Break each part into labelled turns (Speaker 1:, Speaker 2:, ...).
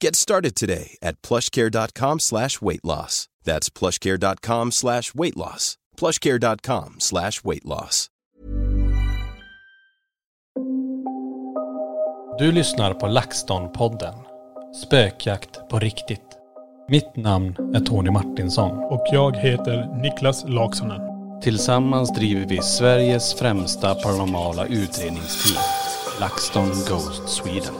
Speaker 1: Get started today at plushcare.com slash weight loss. That's plushcare.com slash weight loss. Plushcare.com slash weight loss.
Speaker 2: Du lyssnar på LaxTon-podden. Spökjakt på riktigt. Mitt namn är Tony Martinsson.
Speaker 3: Och jag heter Niklas Laksonen.
Speaker 2: Tillsammans driver vi Sveriges främsta paranormala utredningsteam. LaxTon Ghost Sweden.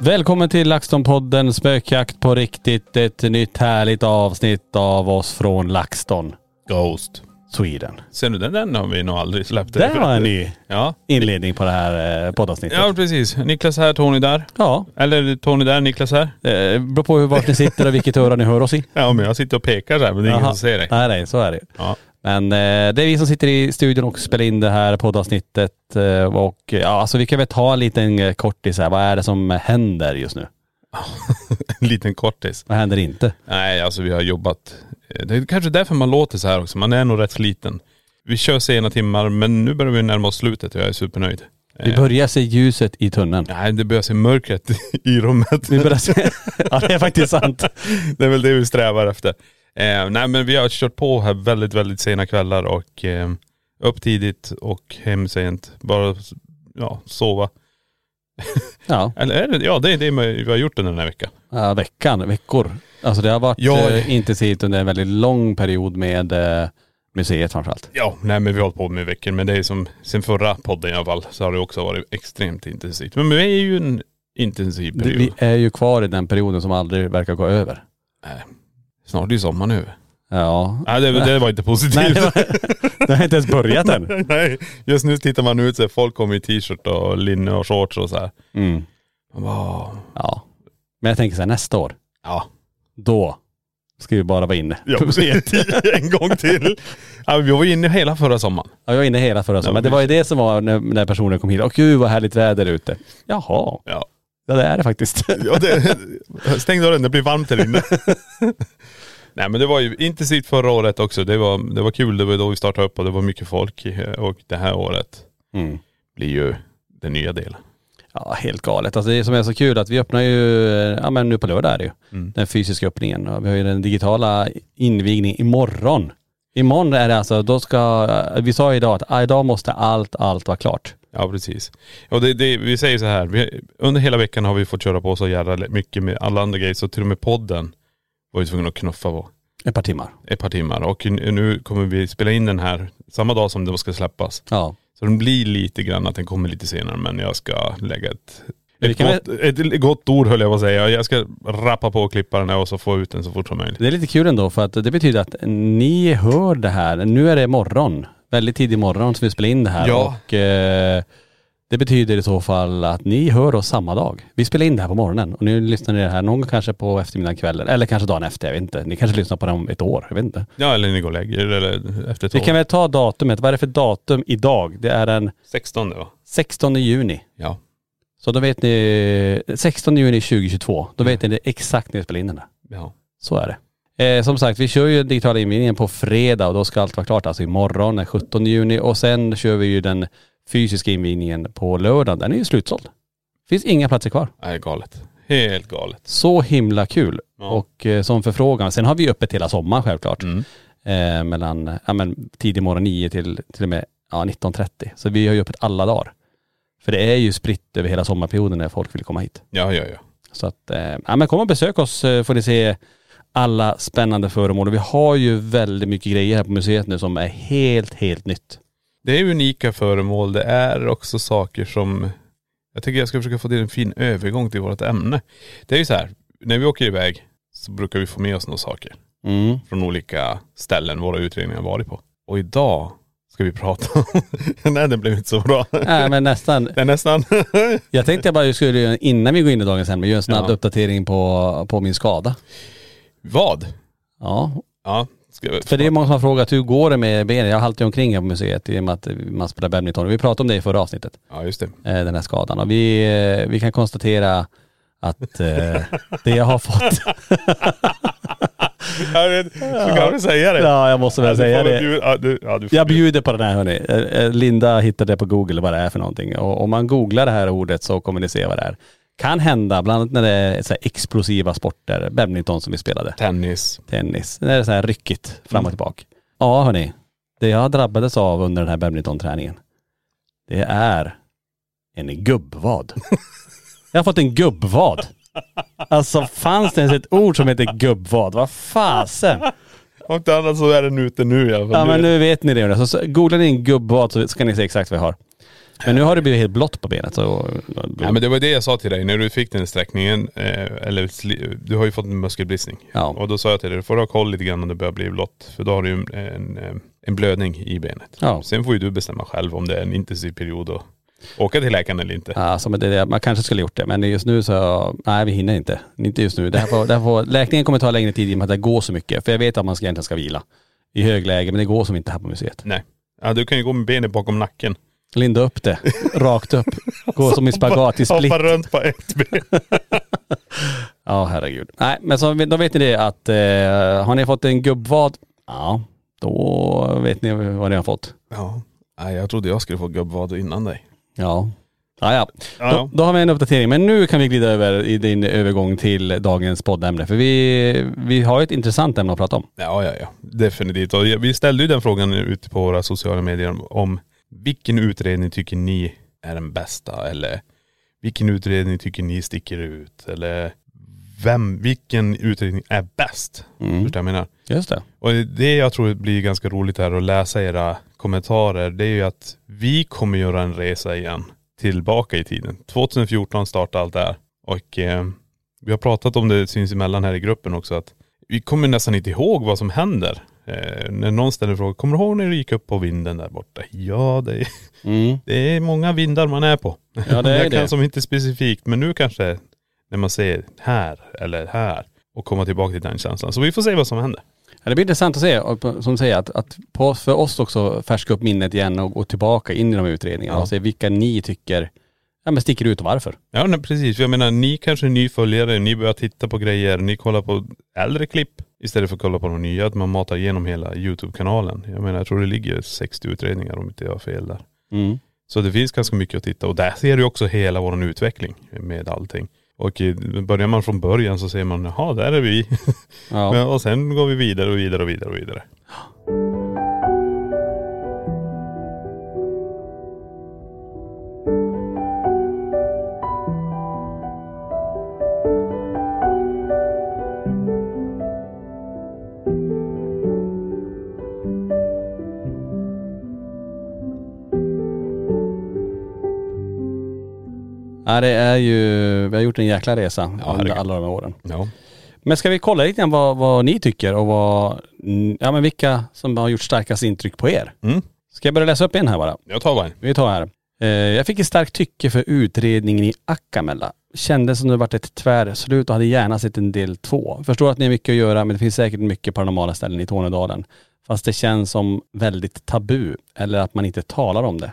Speaker 2: Välkommen till LaxTon-podden Spökjakt på riktigt. Ett nytt härligt avsnitt av oss från LaxTon
Speaker 4: Ghost.
Speaker 2: Sweden.
Speaker 4: Ser du, den, den har vi nog aldrig släppt.
Speaker 2: Där var en ny
Speaker 4: Ja.
Speaker 2: inledning på det här eh, poddavsnittet.
Speaker 4: ja, precis. Niklas här, Tony där.
Speaker 2: Ja,
Speaker 4: Eller Tony där, Niklas här.
Speaker 2: eh, beror på hur vart ni sitter och vilket öra ni hör oss i.
Speaker 4: Ja, men jag sitter och pekar så här, men det är ingen
Speaker 2: Jaha.
Speaker 4: som ser dig.
Speaker 2: Nej, nej, så är det ju.
Speaker 4: Ja.
Speaker 2: Men eh, det är vi som sitter i studion och spelar in det här poddavsnittet. Eh, och eh, ja, alltså vi kan väl ta en liten eh, kortis här. Vad är det som händer just nu?
Speaker 4: En liten kortis.
Speaker 2: Vad händer inte?
Speaker 4: Nej, alltså vi har jobbat. eh, Det är kanske därför man låter så här också. Man är nog rätt sliten. Vi kör sena timmar, men nu börjar vi närma oss slutet och jag är supernöjd.
Speaker 2: Vi
Speaker 4: Eh.
Speaker 2: börjar se ljuset i tunneln.
Speaker 4: Nej, det börjar se mörkret i rummet.
Speaker 2: Vi börjar se.. ja det är faktiskt sant.
Speaker 4: det är väl det vi strävar efter. Eh, nej men vi har kört på här väldigt, väldigt sena kvällar och eh, upp tidigt och hem sent. Bara ja, sova.
Speaker 2: Ja,
Speaker 4: Eller är det, ja det är det vi har gjort under den här veckan.
Speaker 2: ja veckan, veckor. Alltså det har varit
Speaker 4: Ja.
Speaker 2: eh, intensivt under en väldigt lång period med eh, museet framförallt.
Speaker 4: Ja, nej men vi har hållit på med veckan men det är som sen förra podden i alla fall så har det också varit extremt intensivt. Men vi är ju en intensiv
Speaker 2: Det,
Speaker 4: period.
Speaker 2: vi är ju kvar i den perioden som aldrig verkar gå över.
Speaker 4: Snart är det ju sommar nu.
Speaker 2: Ja.
Speaker 4: Nej det, det var inte positivt.
Speaker 2: Nej, det, var, det har inte ens börjat än.
Speaker 4: Nej, just nu tittar man ut så här, folk kommer i t-shirt och linne och shorts och så här.
Speaker 2: Mm.
Speaker 4: Man bara, "Åh."
Speaker 2: Ja. Men jag tänker så här, nästa år,
Speaker 4: ja.
Speaker 2: då ska vi bara vara inne.
Speaker 4: Ja,
Speaker 2: på museet.
Speaker 4: en gång till. Ja, vi var inne hela förra sommaren.
Speaker 2: Ja, jag var inne hela förra sommaren. Men det var ju det som var när, när personen kom hit. Åh gud vad härligt väder ute. Jaha,
Speaker 4: Ja.
Speaker 2: ja det är det faktiskt.
Speaker 4: ja det, stäng dörren, det blir varmt här inne. Nej men det var ju intensivt förra året också. Det var, det var kul, det var då vi startade upp och det var mycket folk. Och det här året
Speaker 2: Mm.
Speaker 4: blir ju den nya delen.
Speaker 2: Ja, helt galet. Alltså det som är så kul att vi öppnar ju, eh, ja men nu på lördag är det ju, den fysiska öppningen. Och vi har ju den digitala invigningen imorgon. Imorgon är det alltså, då ska, eh, vi sa ju idag att ah, idag måste allt, allt vara klart.
Speaker 4: Ja precis. Och det, det, vi säger så här, vi, under hela veckan har vi fått köra på så jävla mycket med alla andra grejer. Så till och med podden var vi tvungna att knuffa på.
Speaker 2: Ett par timmar.
Speaker 4: ett par timmar. Och n- nu kommer vi spela in den här samma dag som den ska släppas.
Speaker 2: Ja.
Speaker 4: Så den blir lite grann att den kommer lite senare men jag ska lägga ett,
Speaker 2: Men vi
Speaker 4: ett,
Speaker 2: kan
Speaker 4: gott, ett gott ord höll jag på att säga. Jag ska rappa på och klippa den här och så få ut den så fort som möjligt.
Speaker 2: Det är lite kul ändå för att det betyder att ni hör det här, nu är det morgon, väldigt tidig morgon som vi spelar in det här
Speaker 4: Ja.
Speaker 2: och eh, Det betyder i så fall att ni hör oss samma dag. Vi spelar in det här på morgonen och nu lyssnar ni det här någon gång kanske på eftermiddagen, kvällen eller kanske dagen efter. Jag vet inte. Ni kanske lyssnar på det om ett år. Jag vet inte.
Speaker 4: Ja eller ni går och lägger er, eller efter ett
Speaker 2: Vi
Speaker 4: år.
Speaker 2: kan väl ta datumet. Vad är det för datum idag? Det är den
Speaker 4: 16 då.
Speaker 2: 16 juni.
Speaker 4: Ja.
Speaker 2: Så då vet ni, 16 juni 2022, då vet ni exakt när vi spelar in den här.
Speaker 4: ja.
Speaker 2: Så är det. Eh, som sagt, vi kör ju digitala invigningen på fredag och då ska allt vara klart. Alltså imorgon den 17 juni och sen kör vi ju den fysiska invigningen på lördagen. Den är ju slutsåld. finns inga platser kvar.
Speaker 4: Nej galet. Helt galet.
Speaker 2: Så himla kul.
Speaker 4: Ja.
Speaker 2: Och eh, som förfrågan. Sen har vi öppet hela sommaren självklart.
Speaker 4: Mm.
Speaker 2: Eh, mellan ja, men, tidig morgon 9 till till och med ja, 19.30. Så vi har ju öppet alla dagar. För det är ju spritt över hela sommarperioden när folk vill komma hit.
Speaker 4: Ja ja ja.
Speaker 2: Så att, eh, ja men kom och besök oss eh, får ni se alla spännande föremål. Och vi har ju väldigt mycket grejer här på museet nu som är helt, helt nytt.
Speaker 4: Det är unika föremål. Det är också saker som.. Jag tycker jag ska försöka få till en fin övergång till vårt ämne. Det är ju så här, när vi åker iväg så brukar vi få med oss några saker
Speaker 2: Mm.
Speaker 4: från olika ställen våra utredningar varit på. Och idag ska vi prata om.. Nej den blev inte så bra.
Speaker 2: Nej men nästan.
Speaker 4: Det är nästan..
Speaker 2: Jag tänkte jag bara skulle, göra- innan vi går in i dagens ämne, göra en snabb
Speaker 4: Ja.
Speaker 2: uppdatering på, på min skada.
Speaker 4: Vad?
Speaker 2: Ja,
Speaker 4: Ja. Ska vi...
Speaker 2: för det är många som har frågat hur går det med benet? Jag haltar ju omkring här på museet i och med att man spelar badminton. Vi pratade om det i förra avsnittet.
Speaker 4: Ja just det.
Speaker 2: eh, den här skadan. Och vi, eh, vi kan konstatera att eh, det jag har fått..
Speaker 4: Jag vet, så kan du säga det.
Speaker 2: ja jag måste
Speaker 4: Ja,
Speaker 2: väl
Speaker 4: du får
Speaker 2: säga
Speaker 4: väl
Speaker 2: det.
Speaker 4: bjuda- ja, du, ja, du får
Speaker 2: Jag bjuder på den här hörni. Eh, eh, Linda hittade det på google vad det är för någonting. Och om man googlar det här ordet så kommer ni se vad det är. Kan hända, bland annat när det är så här explosiva sporter, badminton som vi spelade,
Speaker 4: Tennis.
Speaker 2: tennis, när det är så här ryckigt fram och tillbaka. Ja hörni, det jag drabbades av under den här badmintonträningen, det är en gubbvad. Jag har fått en gubbvad. Alltså fanns det ens ett ord som heter gubbvad? Vad fasen?
Speaker 4: Om inte annat så är den ute nu i alla fall.
Speaker 2: Ja men nu vet ni det. Så- Så googlar ni en gubbvad så ska ni se exakt vad jag har. Men nu har det blivit helt blått på benet. Så,
Speaker 4: Ja, men det var det jag sa till dig när du fick den sträckningen. Eh, eller sli- du har ju fått en muskelbristning.
Speaker 2: Ja.
Speaker 4: Och då sa jag till dig, du får ha koll lite grann om det börjar bli blått. För då har du ju en, en, eh, en blödning i benet.
Speaker 2: Ja.
Speaker 4: Sen får ju du bestämma själv om det är en intensiv period och åka till läkaren eller inte.
Speaker 2: Alltså, men det, är det- man kanske skulle gjort det men just nu så, nej vi hinner inte. Inte just nu. Det här får, det här får, läkningen kommer ta längre tid i och med att det går så mycket. För jag vet att man ska, egentligen ska vila i högläge men det går som inte här på museet.
Speaker 4: Nej. Ja, du kan ju gå med benet bakom nacken.
Speaker 2: Linda upp det, rakt upp. Gå som i spagat i split.
Speaker 4: Hoppa runt på ett ben.
Speaker 2: Ja herregud. Nej men så, då vet ni det att eh, har ni fått en gubbvad, ja då vet ni vad ni har fått.
Speaker 4: Ja. Nej, jag trodde jag skulle få gubbvad innan dig.
Speaker 2: Ja. Ja, ja.
Speaker 4: Ja,
Speaker 2: Då,
Speaker 4: ja.
Speaker 2: då har vi en uppdatering. Men nu kan vi glida över i din övergång till dagens poddämne. För vi, vi har ju ett intressant ämne att prata om.
Speaker 4: Ja, ja, ja. Definitivt. Och vi ställde ju den frågan ute på våra sociala medier om, om vilken utredning tycker ni är den bästa? Eller vilken utredning tycker ni sticker ut? Eller vem, vilken utredning är bäst?
Speaker 2: Mm.
Speaker 4: Förstår du vad jag menar?
Speaker 2: Just det.
Speaker 4: Och det jag tror blir ganska roligt här att läsa era kommentarer, det är ju att vi kommer göra en resa igen tillbaka i tiden. 2014 startade allt det här. Och eh, vi har pratat om det sinsemellan här i gruppen också att vi kommer nästan inte ihåg vad som händer. Eh, när någon ställer frågan, kommer du ihåg när du gick upp på vinden där borta? Ja, det är,
Speaker 2: Mm.
Speaker 4: det är många vindar man är på.
Speaker 2: Ja, det är
Speaker 4: jag kan
Speaker 2: det.
Speaker 4: som inte specifikt, men nu kanske när man säger här eller här och komma tillbaka till den känslan. Så vi får se vad som händer.
Speaker 2: Ja, det blir intressant att se, och på- som du säger, att, att på, för oss också färska upp minnet igen och gå tillbaka in i de här utredningarna
Speaker 4: Ja.
Speaker 2: och se vilka ni tycker ja, men sticker ut och varför.
Speaker 4: Ja nej, precis, För jag menar ni kanske är nyföljare, ni börjar titta på grejer, ni kollar på äldre klipp istället för att kolla på de nya, att man matar igenom hela YouTube-kanalen. Jag menar jag tror det ligger 60 utredningar om inte jag har fel där.
Speaker 2: Mm.
Speaker 4: Så det finns ganska mycket att titta och där ser du också hela vår utveckling med allting. Och eh, börjar man från början så ser man, jaha där är vi.
Speaker 2: Ja.
Speaker 4: Men, och sen går vi vidare och vidare och vidare och vidare.
Speaker 2: Ja, det är ju, vi har gjort en jäkla resa
Speaker 4: Ja,
Speaker 2: under
Speaker 4: herregud.
Speaker 2: alla de här åren.
Speaker 4: Ja.
Speaker 2: Men ska vi kolla lite grann vad, vad ni tycker och vad, mm, ja men vilka som har gjort starkast intryck på er?
Speaker 4: Mm.
Speaker 2: Ska jag börja läsa upp en här bara?
Speaker 4: Jag tar bara en.
Speaker 2: Vi tar här. Eh, Jag fick ett starkt tycke för utredningen i Akkamella. Kändes som det varit ett tvärslut och hade gärna sett en del två. Förstår att ni har mycket att göra men det finns säkert mycket paranormala ställen i Tornedalen. Fast det känns som väldigt tabu eller att man inte talar om det.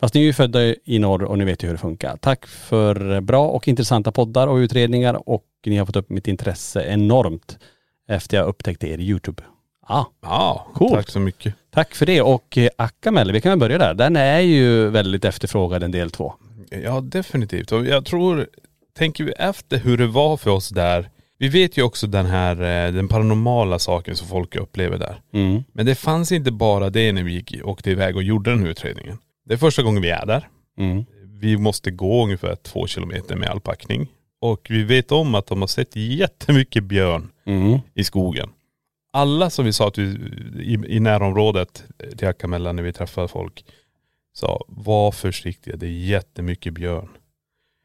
Speaker 2: Fast ni är ju födda i norr och ni vet ju hur det funkar. Tack för bra och intressanta poddar och utredningar och ni har fått upp mitt intresse enormt efter jag upptäckte er YouTube. Ah,
Speaker 4: Ja,
Speaker 2: Coolt.
Speaker 4: tack så mycket.
Speaker 2: tack för det och eh, Akkamel, vi kan väl börja där. Den är ju väldigt efterfrågad en del två.
Speaker 4: Ja definitivt. Och jag tror, tänker vi efter hur det var för oss där. Vi vet ju också den här, eh, den paranormala saken som folk upplever där.
Speaker 2: Mm.
Speaker 4: Men det fanns inte bara det när vi gick, åkte iväg och gjorde den här utredningen. Det är första gången vi är där.
Speaker 2: Mm.
Speaker 4: Vi måste gå ungefär två kilometer med all packning. Och vi vet om att de har sett jättemycket björn
Speaker 2: Mm.
Speaker 4: i skogen. Alla som vi sa att vi, i, i närområdet eh, till Akamella när vi träffade folk sa, var försiktiga, det är jättemycket björn.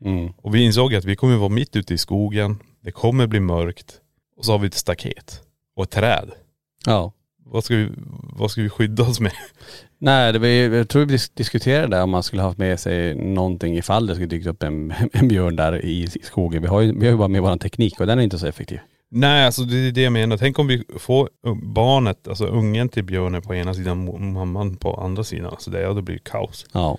Speaker 2: Mm.
Speaker 4: Och vi insåg att vi kommer vara mitt ute i skogen, det kommer bli mörkt. Och så har vi ett staket och ett träd.
Speaker 2: Ja.
Speaker 4: Vad ska vi, vad ska vi skydda oss med?
Speaker 2: Nej, det var, ju- jag tror vi dis- diskuterade det om man skulle haft med sig någonting ifall det skulle dykt upp en, en björn där i, i skogen. Vi har, ju, vi har ju bara med vår teknik och den är inte så effektiv.
Speaker 4: Nej, alltså det är det jag menar. Tänk om vi får barnet, alltså ungen till björnen på ena sidan och mamman på andra sidan. Alltså det, ja, det blir ju kaos.
Speaker 2: Ja.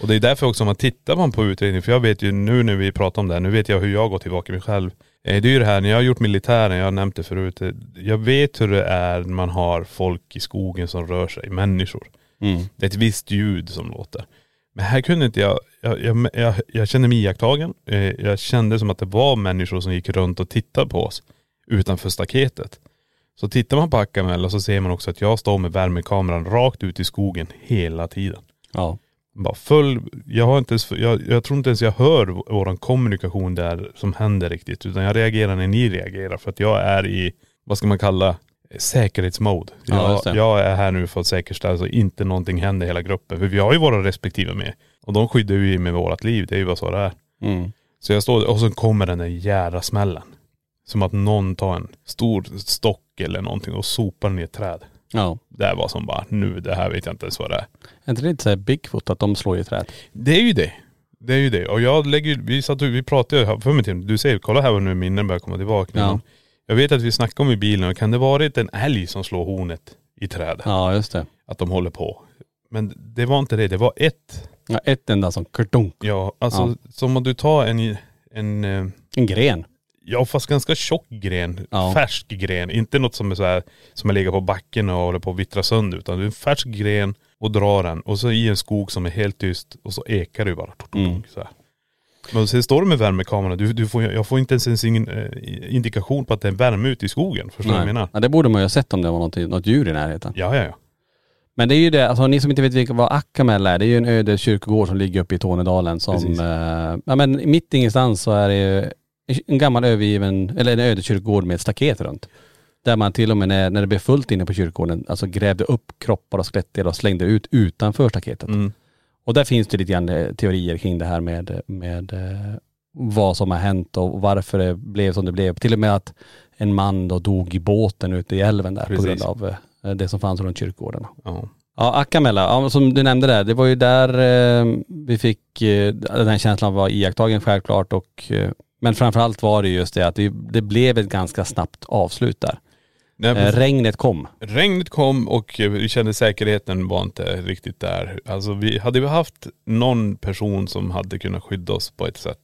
Speaker 4: Och det är därför också man tittar man på utredningen, för jag vet ju nu när vi pratar om det här, nu vet jag hur jag går tillbaka mig själv. Eh, Det är ju det här, när jag har gjort militären, jag har nämnt det förut, eh, jag vet hur det är när man har folk i skogen som rör sig, människor.
Speaker 2: Mm.
Speaker 4: Det är ett visst ljud som låter. Men här kunde inte jag, jag, jag, jag, jag kände mig iakttagen. Eh, Jag kände som att det var människor som gick runt och tittade på oss utanför staketet. Så tittar man på Akamel så ser man också att jag står med värmekameran rakt ut i skogen hela tiden.
Speaker 2: Ja.
Speaker 4: Bara full, jag, har inte ens, jag, jag tror inte ens jag hör vår kommunikation där som händer riktigt. Utan jag reagerar när ni reagerar. För att jag är i, vad ska man kalla, säkerhetsmode.
Speaker 2: Ja, just det.
Speaker 4: Jag, jag är här nu för att säkerställa så inte någonting händer i hela gruppen. För vi har ju våra respektive med. Och de skyddar ju med vårat liv. Det är ju bara så det är.
Speaker 2: Mm.
Speaker 4: Så jag står och så kommer den där jädra smällen. Som att någon tar en stor stock eller någonting och sopar ner ett träd.
Speaker 2: Ja.
Speaker 4: Det var som bara, nu det här vet jag inte ens vad det är.
Speaker 2: Är inte det lite såhär Bigfoot att de slår i träd?
Speaker 4: Det är ju det. Det är ju det. Och jag lägger ju- vi satt och- vi pratade ju här för mig till, du säger, kolla här vad nu minnen börjar komma tillbaka.
Speaker 2: Ja.
Speaker 4: Jag vet att vi snackade om i bilen, och kan det varit en älg som slår hornet i trädet?
Speaker 2: Ja just det.
Speaker 4: Att de håller på. Men det var inte det, det var ett,
Speaker 2: Ja, ett enda som kartonk.
Speaker 4: ja alltså som om du tar en, en, eh,
Speaker 2: En gren.
Speaker 4: ja fast ganska tjock gren,
Speaker 2: Ja.
Speaker 4: färsk gren. Inte något som är så här, som har legat på backen och håller på att vittra sönder. Utan det är en färsk gren och drar den. Och så i en skog som är helt tyst och så ekar det ju bara.
Speaker 2: Mm.
Speaker 4: Så här. Men sen står du med värmekamera, du, du får, jag får inte ens, ens ingen eh, indikation på att det är värme ute i skogen. Förstår du vad jag menar?
Speaker 2: Ja, det borde man ju ha sett om det var något, något djur i närheten.
Speaker 4: Ja, ja, ja.
Speaker 2: Men det är ju det, alltså ni som inte vet vilka- vad Akkamel är, det är ju en öde kyrkogård som ligger uppe i Tornedalen som,
Speaker 4: Precis.
Speaker 2: eh, ja men mitt ingenstans så är det ju en gammal övergiven, eller en öde kyrkogård med ett staket runt. Där man till och med när, när det blev fullt inne på kyrkogården, alltså grävde upp kroppar och skelettdelar och slängde ut utanför staketet.
Speaker 4: Mm.
Speaker 2: Och där finns det lite grann eh, teorier kring det här med, med eh, vad som har hänt och varför det blev som det blev. Till och med att en man då dog i båten ute i älven där på
Speaker 4: Precis.
Speaker 2: grund av eh, det som fanns runt kyrkogården.
Speaker 4: ja.
Speaker 2: Ja, Akamella, ja, som du nämnde där, det var ju där eh, vi fick eh, den här känslan var iakttagen självklart och eh, men framförallt var det just det att det, det blev ett ganska snabbt avslut där.
Speaker 4: Nej,
Speaker 2: Eh,
Speaker 4: men
Speaker 2: regnet kom.
Speaker 4: Regnet kom och eh, vi kände säkerheten var inte riktigt där. Alltså vi, hade vi haft någon person som hade kunnat skydda oss på ett sätt.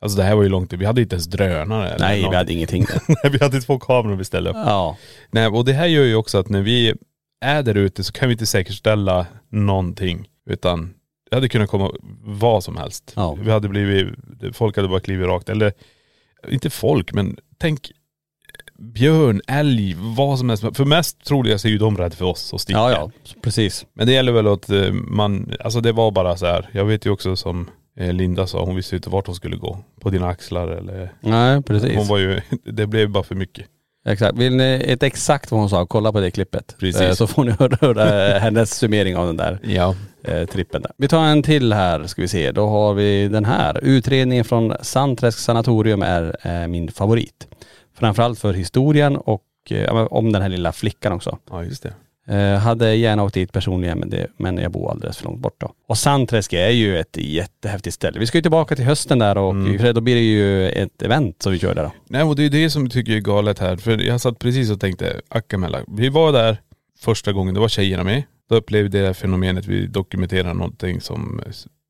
Speaker 4: Alltså det här var ju långt, vi hade inte ens drönare. eller
Speaker 2: Nej, vi
Speaker 4: någonting.
Speaker 2: hade ingenting där.
Speaker 4: vi hade två kameror vi ställde upp.
Speaker 2: Ja,
Speaker 4: Nej, och det här gör ju också att när vi är där ute så kan vi inte säkerställa någonting. Utan det hade kunnat komma vad som helst.
Speaker 2: Ja.
Speaker 4: Vi hade blivit, folk hade bara klivit rakt. Eller inte folk, men tänk björn, älg, vad som helst. För mest troligast är ju de rädda för oss och sticker.
Speaker 2: ja, ja precis.
Speaker 4: Men det gäller väl att eh, man, alltså det var bara så här. Jag vet ju också som eh, Linda sa, hon visste ju inte vart hon skulle gå. På dina axlar eller..
Speaker 2: Nej,
Speaker 4: Hon
Speaker 2: precis.
Speaker 4: var ju, det blev bara för mycket.
Speaker 2: Exakt. Vill ni ett exakt vad hon sa, kolla på det klippet.
Speaker 4: Precis.
Speaker 2: Eh, Så får ni höra, höra hennes summering av den där.
Speaker 4: Ja.
Speaker 2: eh, trippen där. Vi tar en till här ska vi se. Då har vi den här. Utredningen från Sandträsk sanatorium är eh, min favorit. Framförallt för historien och eh, ja, men om den här lilla flickan också.
Speaker 4: Ja just det.
Speaker 2: Eh, hade gärna åkt dit personligen men, det, men jag bor alldeles för långt bort då. Och Sandträsk är ju ett jättehäftigt ställe. Vi ska ju tillbaka till hösten där och för då blir det ju ett event som vi kör där då.
Speaker 4: Nej och det är det som jag tycker är galet här. För jag satt precis och tänkte, ackamella. Vi var där första gången, det var tjejerna med. Då upplevde jag det här fenomenet, vi dokumenterar någonting som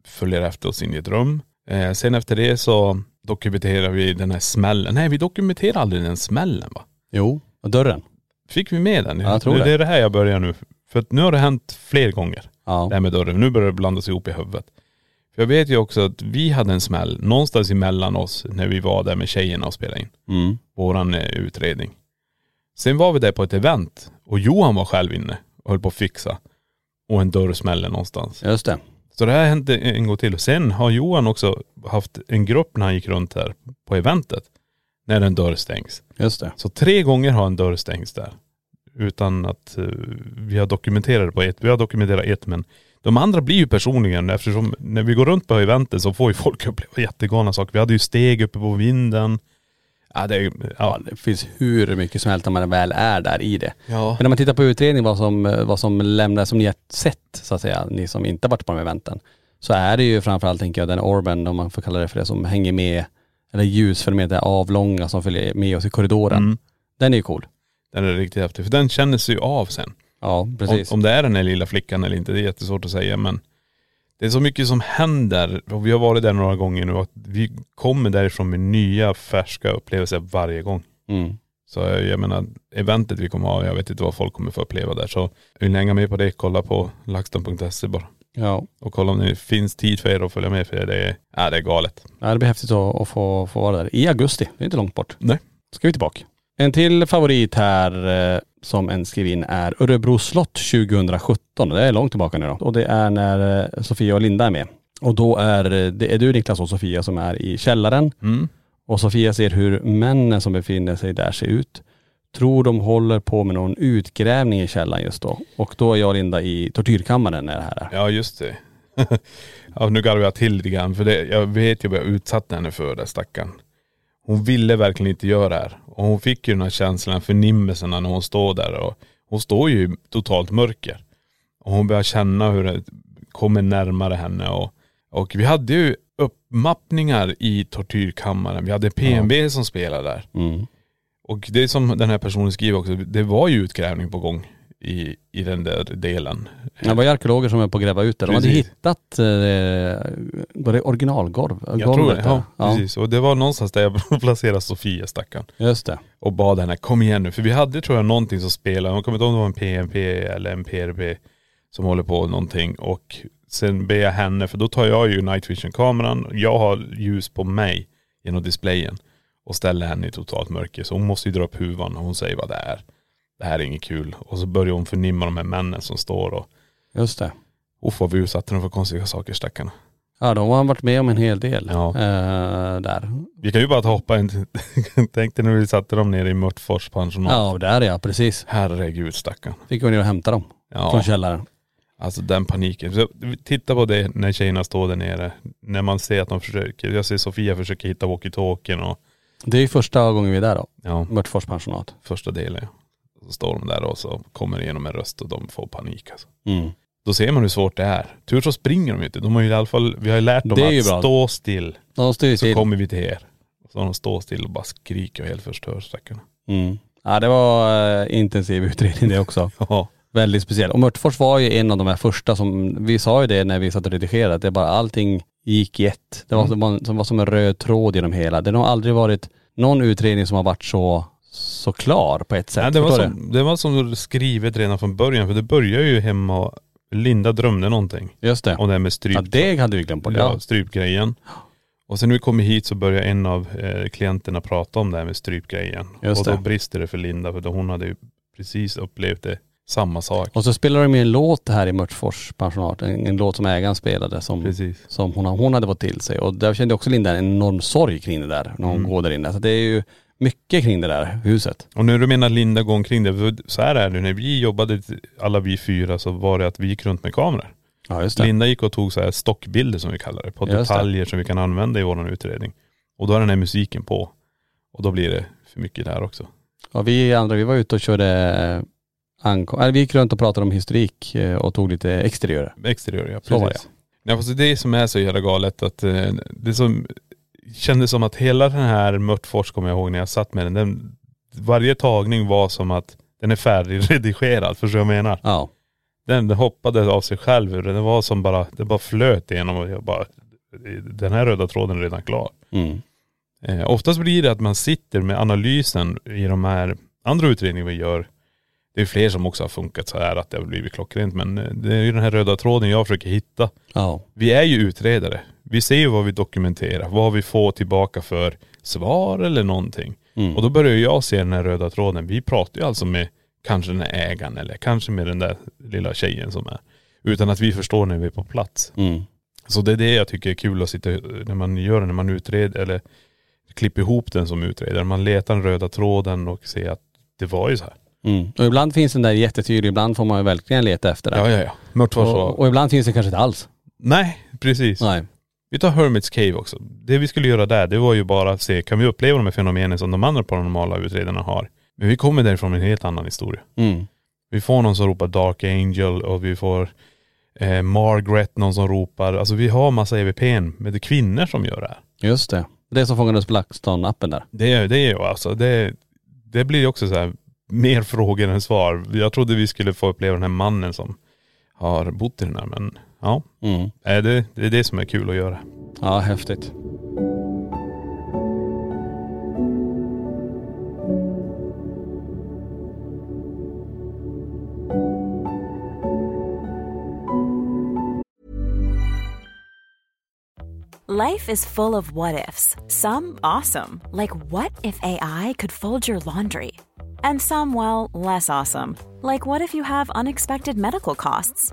Speaker 4: följer efter oss in i ett rum. Eh, sen efter det så dokumenterar vi den här smällen. Nej vi dokumenterar aldrig den smällen va?
Speaker 2: Jo. Och dörren.
Speaker 4: Fick vi med den?
Speaker 2: Ja, jag tror
Speaker 4: det.
Speaker 2: det.
Speaker 4: är det här jag börjar nu. För att nu har det hänt fler gånger.
Speaker 2: Ja.
Speaker 4: Det här med dörren. Nu börjar det blandas ihop i huvudet. För jag vet ju också att vi hade en smäll någonstans emellan oss när vi var där med tjejerna och spelade in.
Speaker 2: Mm.
Speaker 4: Våran eh, utredning. Sen var vi där på ett event och Johan var själv inne och höll på att fixa. Och en dörr smällde någonstans.
Speaker 2: Just det.
Speaker 4: Så det här hände en gång till. Och sen har Johan också haft en grupp när han gick runt här på eventet. När en dörr stängs.
Speaker 2: Just det.
Speaker 4: Så tre gånger har en dörr stängts där. Utan att eh, vi har dokumenterat det på ett. Vi har dokumenterat ett men de andra blir ju personligen eftersom när vi går runt på eventet så får ju folk uppleva jättegalna saker. Vi hade ju steg uppe på vinden. Ja det är ju..
Speaker 2: Ja
Speaker 4: ja.
Speaker 2: det finns hur mycket som helst när man väl är där i det.
Speaker 4: ja.
Speaker 2: Men när man tittar på utredningen vad som, eh, vad som lämnas, som ni har sett så att säga, ni som inte har varit på de här eventen, så är det ju framförallt tänker jag den orben, om man får kalla det för det, som hänger med, eller ljusfenomenet, avlånga som följer med oss i korridoren.
Speaker 4: Mm.
Speaker 2: Den är ju cool.
Speaker 4: Den är riktigt häftig. För den känner sig ju av sen.
Speaker 2: Ja,
Speaker 4: Om,
Speaker 2: precis.
Speaker 4: om det är den här lilla flickan eller inte, det är jättesvårt att säga men det är så mycket som händer och vi har varit där några gånger nu och att vi kommer därifrån med nya färska upplevelser varje gång.
Speaker 2: Mm.
Speaker 4: Så jag, jag menar, eventet vi kommer ha, jag vet inte vad folk kommer få uppleva där. Så vill ni hänga med på det, kolla på laxton.se E bara.
Speaker 2: Ja.
Speaker 4: Och kolla om det finns tid för er att följa med, för det är, ja, det är galet.
Speaker 2: ja, det blir häftigt att, att få, få vara där i augusti. Det är inte långt bort.
Speaker 4: Nej.
Speaker 2: Ska vi tillbaka. En till favorit här eh, som en skrev in är Örebro slott 2017. Det är långt tillbaka nu då. Och det är när eh, Sofia och Linda är med. Och då är eh, det är du Niklas och Sofia som är i källaren.
Speaker 4: Mm.
Speaker 2: Och Sofia ser hur männen som befinner sig där ser ut. Tror de håller på med någon utgrävning i källaren just då. Och då är jag och Linda i tortyrkammaren när det här är.
Speaker 4: Ja just det. ja, nu garvar jag till lite grann, för det, jag vet ju vad jag utsatte henne för, den stackaren. Hon ville verkligen inte göra det här. Och hon fick ju den här känslan, förnimmelserna när hon står där. Och hon står ju i totalt mörker. Och hon börjar känna hur det kommer närmare henne. Och, och vi hade ju uppmappningar i tortyrkammaren. Vi hade PMB som spelade där.
Speaker 2: Mm.
Speaker 4: Och det är som den här personen skriver också, det var ju utgrävning på gång i, i den där delen.
Speaker 2: Det var ju arkeologer som är på att gräva ut det. De hade
Speaker 4: Precis.
Speaker 2: hittat, eh, var det originalgolv?
Speaker 4: Jag tror det.
Speaker 2: där.
Speaker 4: Ja,
Speaker 2: ja,
Speaker 4: precis. Och det var någonstans där jag placerade Sofia stackarn.
Speaker 2: Just det.
Speaker 4: Och bad henne, kom igen nu. För vi hade tror jag någonting som spelade, jag kommer inte ihåg om det var en PMP eller en PRP som håller på någonting. Och sen ber jag henne, för då tar jag ju night vision-kameran, jag har ljus på mig genom displayen och ställer henne i totalt mörker. Så hon måste ju dra upp huvan och hon säger vad det är. Det här är inget kul. Och så börjar hon förnimma de här männen som står och,
Speaker 2: Just det.
Speaker 4: uff vad vi utsatte dem för konstiga saker stackarna.
Speaker 2: Ja, de har varit med om en hel del
Speaker 4: Ja.
Speaker 2: eh, där.
Speaker 4: Vi kan ju bara ta hoppa in. Tänk dig när vi satte dem nere i Mörtfors pensionat.
Speaker 2: Ja, där ja, precis.
Speaker 4: Herregud stackarn.
Speaker 2: Fick vi ner och hämta dem från
Speaker 4: Ja,
Speaker 2: källaren.
Speaker 4: alltså den paniken. Så, titta på det när tjejerna står där nere. När man ser att de försöker. Jag ser Sofia försöker hitta walkie-talkien och
Speaker 2: Det är ju första gången vi är där då,
Speaker 4: ja,
Speaker 2: Mörtfors pensionat.
Speaker 4: första delen. Så står de där och så kommer det igenom en röst och de får panik alltså.
Speaker 2: Mm.
Speaker 4: Då ser man hur svårt det är. Tur så springer de ju inte. De har ju i alla fall, vi har ju lärt dem
Speaker 2: Det är ju
Speaker 4: att
Speaker 2: bra.
Speaker 4: stå still.
Speaker 2: De styr
Speaker 4: Så
Speaker 2: till.
Speaker 4: kommer vi till er. Så de står still och bara skriker och helt förstör stackarna.
Speaker 2: Mm. Ja, det var eh, intensiv utredning det också.
Speaker 4: Ja.
Speaker 2: Väldigt speciell. Och Mörtfors var ju en av de här första som, vi sa ju det när vi satt och redigerade, att det bara allting gick i ett.
Speaker 4: Mm.
Speaker 2: Det var, som- som, var som en röd tråd genom hela. Det har aldrig varit någon utredning som har varit så, så klar på ett sätt.
Speaker 4: Nej, det, var
Speaker 2: Förstår
Speaker 4: som, det var som skrivet redan från början, för det började ju hemma och Linda drömde någonting
Speaker 2: du? Just det.
Speaker 4: om det här med stryp,
Speaker 2: Ja det hade vi glömt bort.
Speaker 4: ja,
Speaker 2: Ja.
Speaker 4: strypgrejen. Och sen när vi kommer hit så börjar en av eh, klienterna prata om det här med strypgrejen.
Speaker 2: Just
Speaker 4: och då
Speaker 2: det.
Speaker 4: brister det för Linda, för då hon hade ju precis upplevt det, samma sak.
Speaker 2: Och så spelade de ju en låt här i Mörtfors pensionat, en, en låt som ägaren spelade som,
Speaker 4: Precis.
Speaker 2: som hon, hon hade fått till sig. Och där kände också Linda en enorm sorg kring det där, när hon
Speaker 4: Mm.
Speaker 2: går där inne. Så det är ju mycket kring det där huset.
Speaker 4: Och när du menar Linda går omkring det, för så här är det, när vi jobbade, alla vi fyra, så var det att vi gick runt med kameror.
Speaker 2: Ja just det.
Speaker 4: Linda gick och tog så här stockbilder som vi kallar det, på
Speaker 2: Just det.
Speaker 4: detaljer som vi kan använda i vår utredning. Och då är den här musiken på. Och då blir det för mycket där också.
Speaker 2: Ja, vi andra, vi var ute och körde eh, ankom, eller vi gick runt och pratade om historik eh, och tog lite exteriörer.
Speaker 4: Exteriör ja,
Speaker 2: Så var
Speaker 4: precis. Nej, fast det är det som är så jävla galet att eh, det som kändes som att hela den här Mörtfors kommer jag ihåg när jag satt med den, den varje tagning var som att den är färdigredigerad, förstår du vad jag menar?
Speaker 2: Ja.
Speaker 4: Den hoppade av sig själv ur, den var som bara, det bara flöt igenom och jag bara, den här röda tråden är redan klar.
Speaker 2: Mm.
Speaker 4: Eh, oftast blir det att man sitter med analysen i de här andra utredningar vi gör. Det är fler som också har funkat så här att det har blivit klockrent men eh, det är ju den här röda tråden jag försöker hitta.
Speaker 2: Ja.
Speaker 4: Vi är ju utredare. Vi ser ju vad vi dokumenterar, vad vi får tillbaka för svar eller någonting.
Speaker 2: Mm.
Speaker 4: Och då börjar jag se den här röda tråden. Vi pratar ju alltså med kanske den här ägaren eller kanske med den där lilla tjejen som är. Utan att vi förstår när vi är på plats.
Speaker 2: Mm.
Speaker 4: Så det är det jag tycker är kul att sitta, när man gör det, när man utreder eller klipper ihop den som utredare. Man letar den röda tråden och ser att det var ju så här.
Speaker 2: Mm. Och ibland finns den där jättetydlig, ibland får man ju verkligen leta efter den.
Speaker 4: Ja, ja, ja. Mörtfors
Speaker 2: och,
Speaker 4: var..
Speaker 2: och ibland finns den kanske inte alls.
Speaker 4: Nej, precis.
Speaker 2: Nej.
Speaker 4: Vi tar Hermits Cave också. Det vi skulle göra där, det var ju bara att se, kan vi uppleva de här fenomenen som de andra paranormala utredarna har? Men vi kommer därifrån med en helt annan historia.
Speaker 2: Mm.
Speaker 4: Vi får någon som ropar Dark Angel och vi får eh, Margaret, någon som ropar. Alltså vi har massa EVP'n, men det är kvinnor som gör det här.
Speaker 2: Just det. Det som fångades på LaxTon-appen där.
Speaker 4: Det är det är ju alltså, det, det blir ju också så här mer frågor än svar. Jag trodde vi skulle få uppleva den här mannen som har bott i den här men ja,
Speaker 2: Mm.
Speaker 4: Eh, det, det är det som är kul att göra.
Speaker 2: Ja, häftigt.
Speaker 5: Life is full of what ifs. Some awesome, like what if AI could fold your laundry? And some, well, less awesome, like what if you have unexpected medical costs?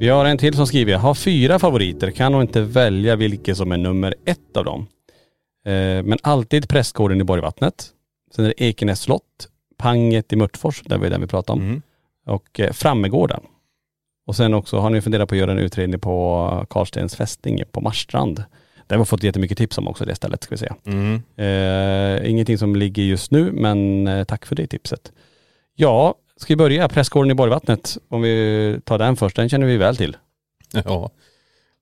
Speaker 2: Vi har en till som skriver, har fyra favoriter, kan nog inte välja vilken som är nummer ett av dem. Eh, men alltid prästgården i Borgvattnet. Sen är det Ekenäs slott, Panget i Mörtfors, där var ju den vi pratade om.
Speaker 4: Mm.
Speaker 2: Och eh, Frammegården. Och sen också, har ni funderat på att göra en utredning på Karlstens fästing på Marstrand? Där har vi fått jättemycket tips om också det stället ska vi säga.
Speaker 4: Mm.
Speaker 2: Eh, ingenting som ligger just nu men eh, tack för det tipset. Ja, ska vi börja Prästgården i Borgvattnet? Om vi tar den först, den känner vi väl till.
Speaker 4: Ja.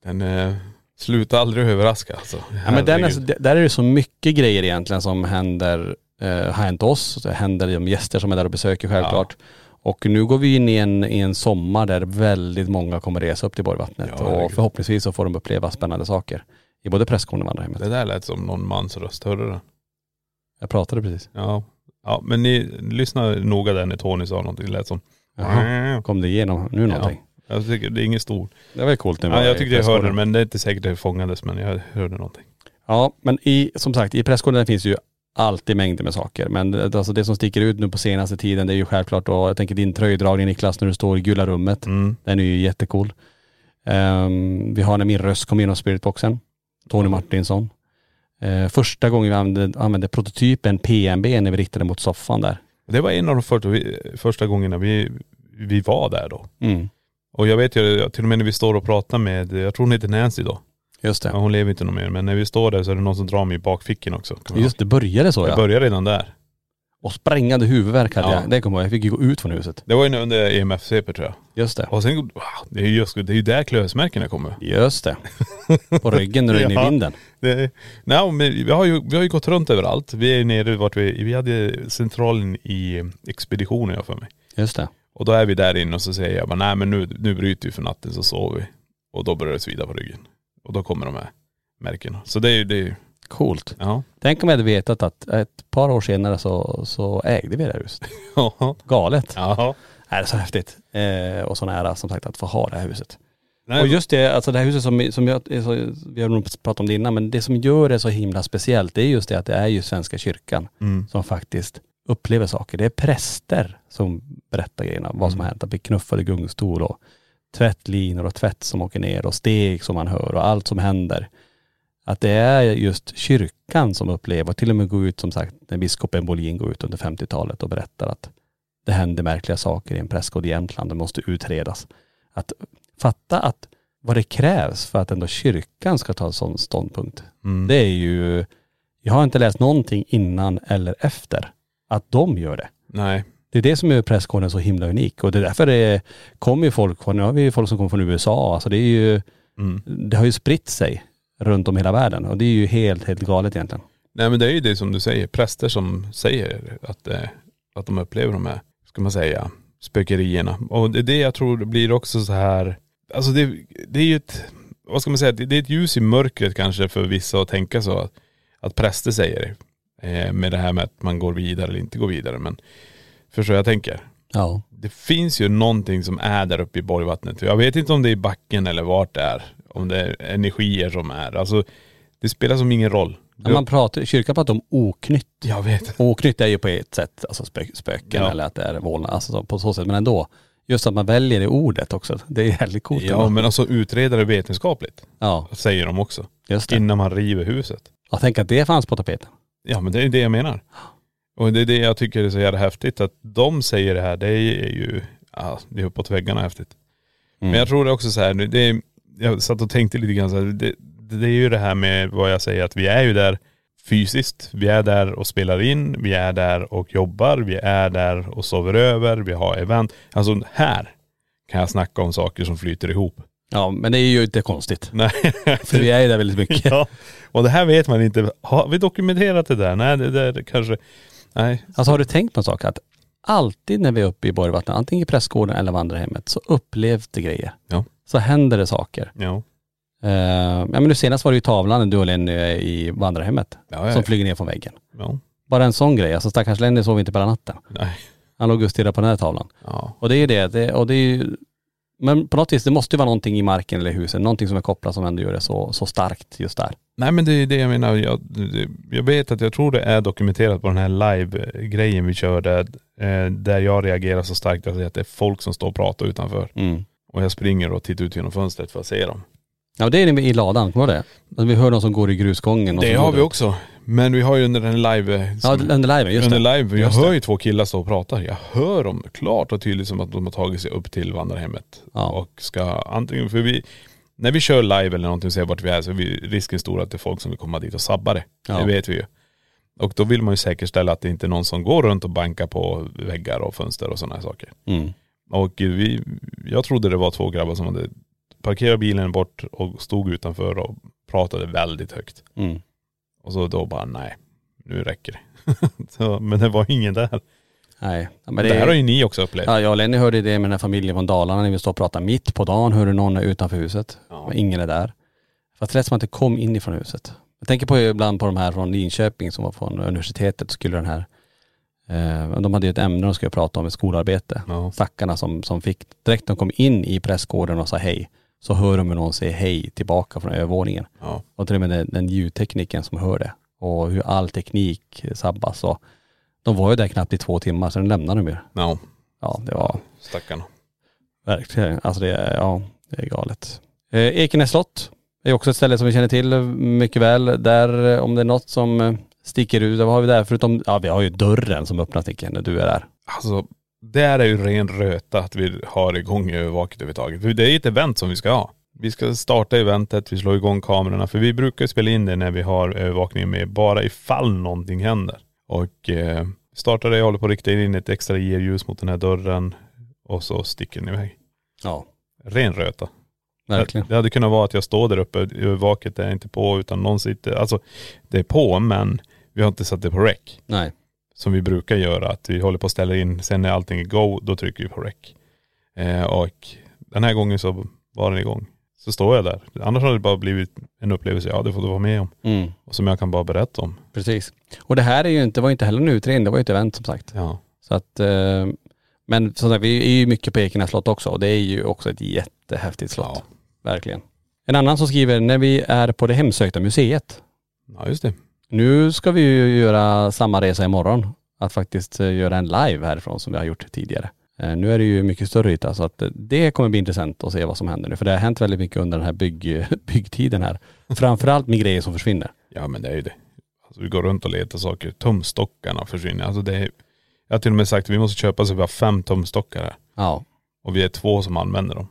Speaker 4: Den eh, slutar aldrig överraska alltså.
Speaker 2: Ja, men den är, så-
Speaker 4: Herregud.
Speaker 2: d- där är det så mycket grejer egentligen som händer, eh, har hänt oss, och det händer de gäster som är där och besöker självklart. Och nu går vi in i en, i en sommar där väldigt många kommer resa upp till Borgvattnet
Speaker 4: Ja,
Speaker 2: och
Speaker 4: herregud.
Speaker 2: förhoppningsvis så får de uppleva spännande saker i både Prästgården och vandrarhemmet.
Speaker 4: det där lät som någon mans röst, hörde du det?
Speaker 2: Jag pratade precis.
Speaker 4: Ja. Ja men ni lyssna noga där när Tony sa någonting, det lät som.. Mm.
Speaker 2: Jaha. Kom det igenom nu någonting?
Speaker 4: Jag tycker det är ingen stor..
Speaker 2: Det var ju coolt nu.
Speaker 4: Ja, jag tyckte jag hörde det
Speaker 2: men
Speaker 4: men det är inte säkert det fångades men jag hörde någonting.
Speaker 2: Ja, men i, som sagt, i pressgården finns ju alltid mängder med saker. Men det- alltså det som sticker ut nu på senaste tiden, det är ju självklart då, jag tänker din tröjdragning Niklas, när du står i gula rummet.
Speaker 4: Mm.
Speaker 2: Den är ju jättecool. Ehm, vi har när min röst kom genom spiritboxen, Tony Martinsson. Eh, första gången vi använde, använde prototypen PMB när vi riktade mot soffan där.
Speaker 4: Det var en av de första, vi- första gångerna vi, vi var där då.
Speaker 2: Mm.
Speaker 4: Och jag vet ju, till och med när vi står och pratar med, jag tror hon heter Nancy då.
Speaker 2: Just det.
Speaker 4: Ja, hon lever inte någon mer, men när vi står där så är det någon som drar mig i bakfickan också. kommer jag
Speaker 2: Just det, började så
Speaker 4: ihåg.
Speaker 2: ja.
Speaker 4: Jag började redan där.
Speaker 2: Och sprängande huvudvärk hade
Speaker 4: Ja.
Speaker 2: jag. Det kommer jag ihåg. Jag fick ju gå ut från huset.
Speaker 4: Det var ju under E EMF-CP tror jag.
Speaker 2: Just det.
Speaker 4: Och sen, wow, det är ju just, det är ju där klösmärkena kommer.
Speaker 2: Just det. På ryggen när du är inne i
Speaker 4: Ja.
Speaker 2: vinden.
Speaker 4: Det, nej, men vi, har ju, vi har ju gått runt överallt. Vi är nere vart vi, vi hade centralen i expeditionen jag för mig.
Speaker 2: Just det.
Speaker 4: Och då är vi där inne och så säger jag bara, nej men nu, nu bryter vi för natten så sover vi. Och då börjar det svida på ryggen. Och då kommer de här märkena. Så det är ju, det är ju,
Speaker 2: Coolt.
Speaker 4: ja.
Speaker 2: Tänk om jag hade vetat att ett par år senare så, så ägde vi det här huset. Galet.
Speaker 4: ja.
Speaker 2: Är det är så häftigt. Eh, och så nära som sagt att få ha det här huset.
Speaker 4: Nej,
Speaker 2: Och just det, alltså det här huset som, som jag, är så, vi har nog pratat om det innan, men det som gör det så himla speciellt det är just det att det är ju Svenska kyrkan
Speaker 4: mm.
Speaker 2: som faktiskt upplever saker. Det är präster som berättar grejerna, vad som har hänt. Att bli knuffade i gungstol och tvättlinor och tvätt som åker ner och steg som man hör och allt som händer. Att det är just kyrkan som upplever, och till och med går ut som sagt, när biskopen Bolin går ut under 50-talet och berättar att det händer märkliga saker i en prästgård i Jämtland, det måste utredas. Att fatta att vad det krävs för att ändå kyrkan ska ta en sån ståndpunkt.
Speaker 4: Mm.
Speaker 2: Det är ju, jag har inte läst någonting innan eller efter att de gör det.
Speaker 4: nej.
Speaker 2: Det är det som gör prästgården så himla unik och det är därför det kommer ju folk, från- nu har vi ju folk som kommer från USA, alltså det är ju,
Speaker 4: Mm.
Speaker 2: det har ju spritt sig runt om hela världen och det är ju helt, helt galet egentligen.
Speaker 4: Nej men det är ju det som du säger, präster som säger att, eh, att de upplever de här, ska man säga, spökerierna. Och det är det jag tror det blir också så här, alltså det, det är ju ett, vad ska man säga, det, det är ett ljus i mörkret kanske för vissa att tänka så. Att, att präster säger eh, med det här med att man går vidare eller inte går vidare. Men förstår jag tänker?
Speaker 2: Ja.
Speaker 4: Det finns ju någonting som är där uppe i Borgvattnet. Jag vet inte om det är i backen eller vart det är. Om det är energier som är. Alltså det spelar som ingen roll.
Speaker 2: När man pratar, kyrkan pratar om oknytt.
Speaker 4: Jag vet.
Speaker 2: Och Oknytt är ju på ett sätt alltså spök, spöken
Speaker 4: Ja.
Speaker 2: eller att det är vålnad, alltså så- på så sätt. Men ändå, just att man väljer det ordet också, det är väldigt coolt.
Speaker 4: Ja men alltså utreda det vetenskapligt,
Speaker 2: ja,
Speaker 4: säger de också.
Speaker 2: just det.
Speaker 4: Innan man river huset.
Speaker 2: Jag tänker att det fanns på tapeten.
Speaker 4: Ja men det är det jag menar. Och det är det jag tycker är så jävla häftigt, att de säger det här, det är ju, ja det är uppåt väggarna häftigt.
Speaker 2: Mm.
Speaker 4: Men jag tror det är också så här, nu, det är, jag satt och tänkte lite grann så här, det, det är ju det här med vad jag säger att vi är ju där fysiskt, vi är där och spelar in, vi är där och jobbar, vi är där och sover över, vi har event. Alltså här kan jag snacka om saker som flyter ihop.
Speaker 2: Ja, men det är ju inte konstigt.
Speaker 4: Nej.
Speaker 2: För vi är ju där väldigt mycket.
Speaker 4: Ja, och det här vet man inte. Har vi dokumenterat det där? Nej, det där kanske.. Nej.
Speaker 2: Alltså har du tänkt på en sak? Att alltid när vi är uppe i Borgvattnet, antingen i prästgården eller vandrarhemmet, så upplevs det grejer.
Speaker 4: Ja.
Speaker 2: Så händer det saker.
Speaker 4: Ja.
Speaker 2: Eh, ja, men nu senast var det ju tavlan när du och Lenny är i vandrarhemmet
Speaker 4: Ja, ja,
Speaker 2: som
Speaker 4: ja.
Speaker 2: flyger ner från väggen.
Speaker 4: Ja.
Speaker 2: Bara en sån grej. Alltså stackars Lenny sov inte på hela natten.
Speaker 4: Nej.
Speaker 2: Han låg och stirrade på den här tavlan.
Speaker 4: Ja.
Speaker 2: Och det är ju det, det, och det är ju, men på något vis, det måste ju vara någonting i marken eller i huset, någonting som är kopplat som ändå gör det så, så starkt just där.
Speaker 4: Nej men det är det jag menar. Jag, det- jag vet att jag tror det är dokumenterat på den här live-grejen vi körde. eh, Där jag reagerar så starkt att jag säger att det är folk som står och pratar utanför. Och jag springer och tittar ut genom fönstret för att se dem.
Speaker 2: Ja, det är det i ladan, kommer du ihåg det? Alltså, vi hör någon som går i grusgången. någon
Speaker 4: Det
Speaker 2: som
Speaker 4: har
Speaker 2: går
Speaker 4: vi
Speaker 2: där.
Speaker 4: också. Men vi har ju under den live..
Speaker 2: Ja,
Speaker 4: som-
Speaker 2: under liven, just
Speaker 4: under
Speaker 2: det.
Speaker 4: live, jag
Speaker 2: Just
Speaker 4: hör
Speaker 2: det.
Speaker 4: ju två killar stå och prata. Jag hör dem klart och tydligt som att de har tagit sig upp till vandrarhemmet.
Speaker 2: Ja.
Speaker 4: Och ska antingen, för vi, när vi kör live eller någonting och ser vart vi är så är vi, risken stor att det är folk som vill komma dit och sabba det.
Speaker 2: Ja.
Speaker 4: Det vet vi ju. Och då vill man ju säkerställa att det inte är någon som går runt och bankar på väggar och fönster och sådana här saker.
Speaker 2: Mm.
Speaker 4: Och vi, jag trodde det var två grabbar som hade parkerat bilen bort och stod utanför och pratade väldigt högt.
Speaker 2: Mm.
Speaker 4: Och så då bara nej, nu räcker det. så, men det var ingen där.
Speaker 2: Nej. Ja,
Speaker 4: Men
Speaker 2: men
Speaker 4: det,
Speaker 2: det,
Speaker 4: här har ju ni också upplevt.
Speaker 2: Ja, jag och Lenny hörde det med den här familjen från Dalarna när vi står och pratar mitt på dagen, hör du någon är utanför huset.
Speaker 4: Ja.
Speaker 2: Men ingen är där. Fast det lät som att det kom inifrån huset. Jag tänker på ibland på de här från Linköping som var från universitetet, skulle den här, eh, de hade ju ett ämne de skulle prata om, ett skolarbete.
Speaker 4: Ja.
Speaker 2: Stackarna som, som fick, direkt när de kom in i prästgården och sa hej, så hör de hur någon säger hej tillbaka från övervåningen.
Speaker 4: Ja.
Speaker 2: Och till och med den, den ljudtekniken som hör det. Och hur all teknik sabbas. Och de var ju där knappt i två timmar, sen lämnade de ju.
Speaker 4: Ja.
Speaker 2: Ja, det var
Speaker 4: Stackarna.
Speaker 2: Verkligen. Alltså det är, ja, det är galet. Eh, Ekenäs slott är också ett ställe som vi känner till mycket väl. Där eh, om det är något som eh, sticker ut, vad har vi där? Förutom, ja vi har ju dörren som öppnas Nicke när du är där.
Speaker 4: Alltså där är ju ren röta att vi har igång övervaket överhuvudtaget. För det är ju ett event som vi ska ha. Vi ska starta eventet, vi slår igång kamerorna. För vi brukar ju spela in det när vi har övervakning med, bara ifall någonting händer. Och eh, startar det, jag håller på att rikta in ett extra IR-ljus mot den här dörren. Och så sticker den iväg.
Speaker 2: Ja.
Speaker 4: Ren röta.
Speaker 2: Verkligen.
Speaker 4: Det hade kunnat vara att jag står där uppe, övervaket är inte på utan någon sitter, alltså det är på men vi har inte satt det på räck.
Speaker 2: Nej.
Speaker 4: som vi brukar göra. Att vi håller på att ställa in, sen när allting är go, då trycker vi på rec. Eh, och den här gången så var den igång. Så står jag där. Annars hade det bara blivit en upplevelse jag hade fått vara med om.
Speaker 2: Mm.
Speaker 4: Och som jag kan bara berätta om.
Speaker 2: Precis. Och det här är ju inte, var ju inte heller en utredning, det var ju ett event som sagt.
Speaker 4: Ja.
Speaker 2: Så att, eh, men som sagt, vi är ju mycket på Ekenäs slott också och det är ju också ett jättehäftigt slott.
Speaker 4: Ja.
Speaker 2: Verkligen. En annan som skriver, när vi är på det hemsökta museet.
Speaker 4: ja just det.
Speaker 2: Nu ska vi ju göra samma resa imorgon. Att faktiskt eh, göra en live härifrån som vi har gjort tidigare. Eh, Nu är det ju mycket större yta så att eh, det kommer bli intressant att se vad som händer nu. För det har hänt väldigt mycket under den här bygg, byggtiden här. Framförallt med grejer som försvinner.
Speaker 4: Ja men det är ju det. Alltså, vi går runt och letar saker. Tumstockarna försvinner. Alltså det är, jag har till och med sagt att vi måste köpa så vi har fem tumstockar här.
Speaker 2: Ja.
Speaker 4: Och vi är två som använder dem.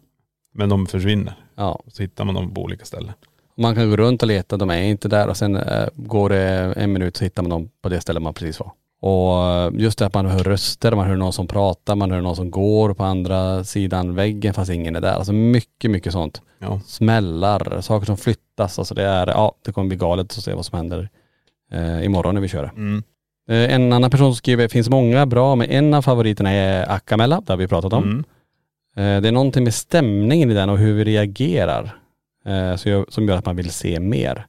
Speaker 4: Men de försvinner.
Speaker 2: Ja.
Speaker 4: Och så hittar man dem på olika ställen.
Speaker 2: Man kan gå runt och leta, de är inte där och sen eh, går det en minut så hittar man dem på det ställe man precis var. Och eh, just det att man hör röster, man hör någon som pratar, man hör någon som går på andra sidan väggen fast ingen är där. Alltså mycket, mycket sånt.
Speaker 4: Ja.
Speaker 2: Smällar, saker som flyttas. Alltså det är, ja det kommer bli galet att se vad som händer eh, imorgon när vi kör det.
Speaker 4: Mm.
Speaker 2: Eh, en annan person som skriver, finns många bra men en av favoriterna är Akamella, det har vi pratat om.
Speaker 4: Mm.
Speaker 2: Eh, Det är någonting med stämningen i den och hur vi reagerar eh, som gör- som gör att man vill se mer.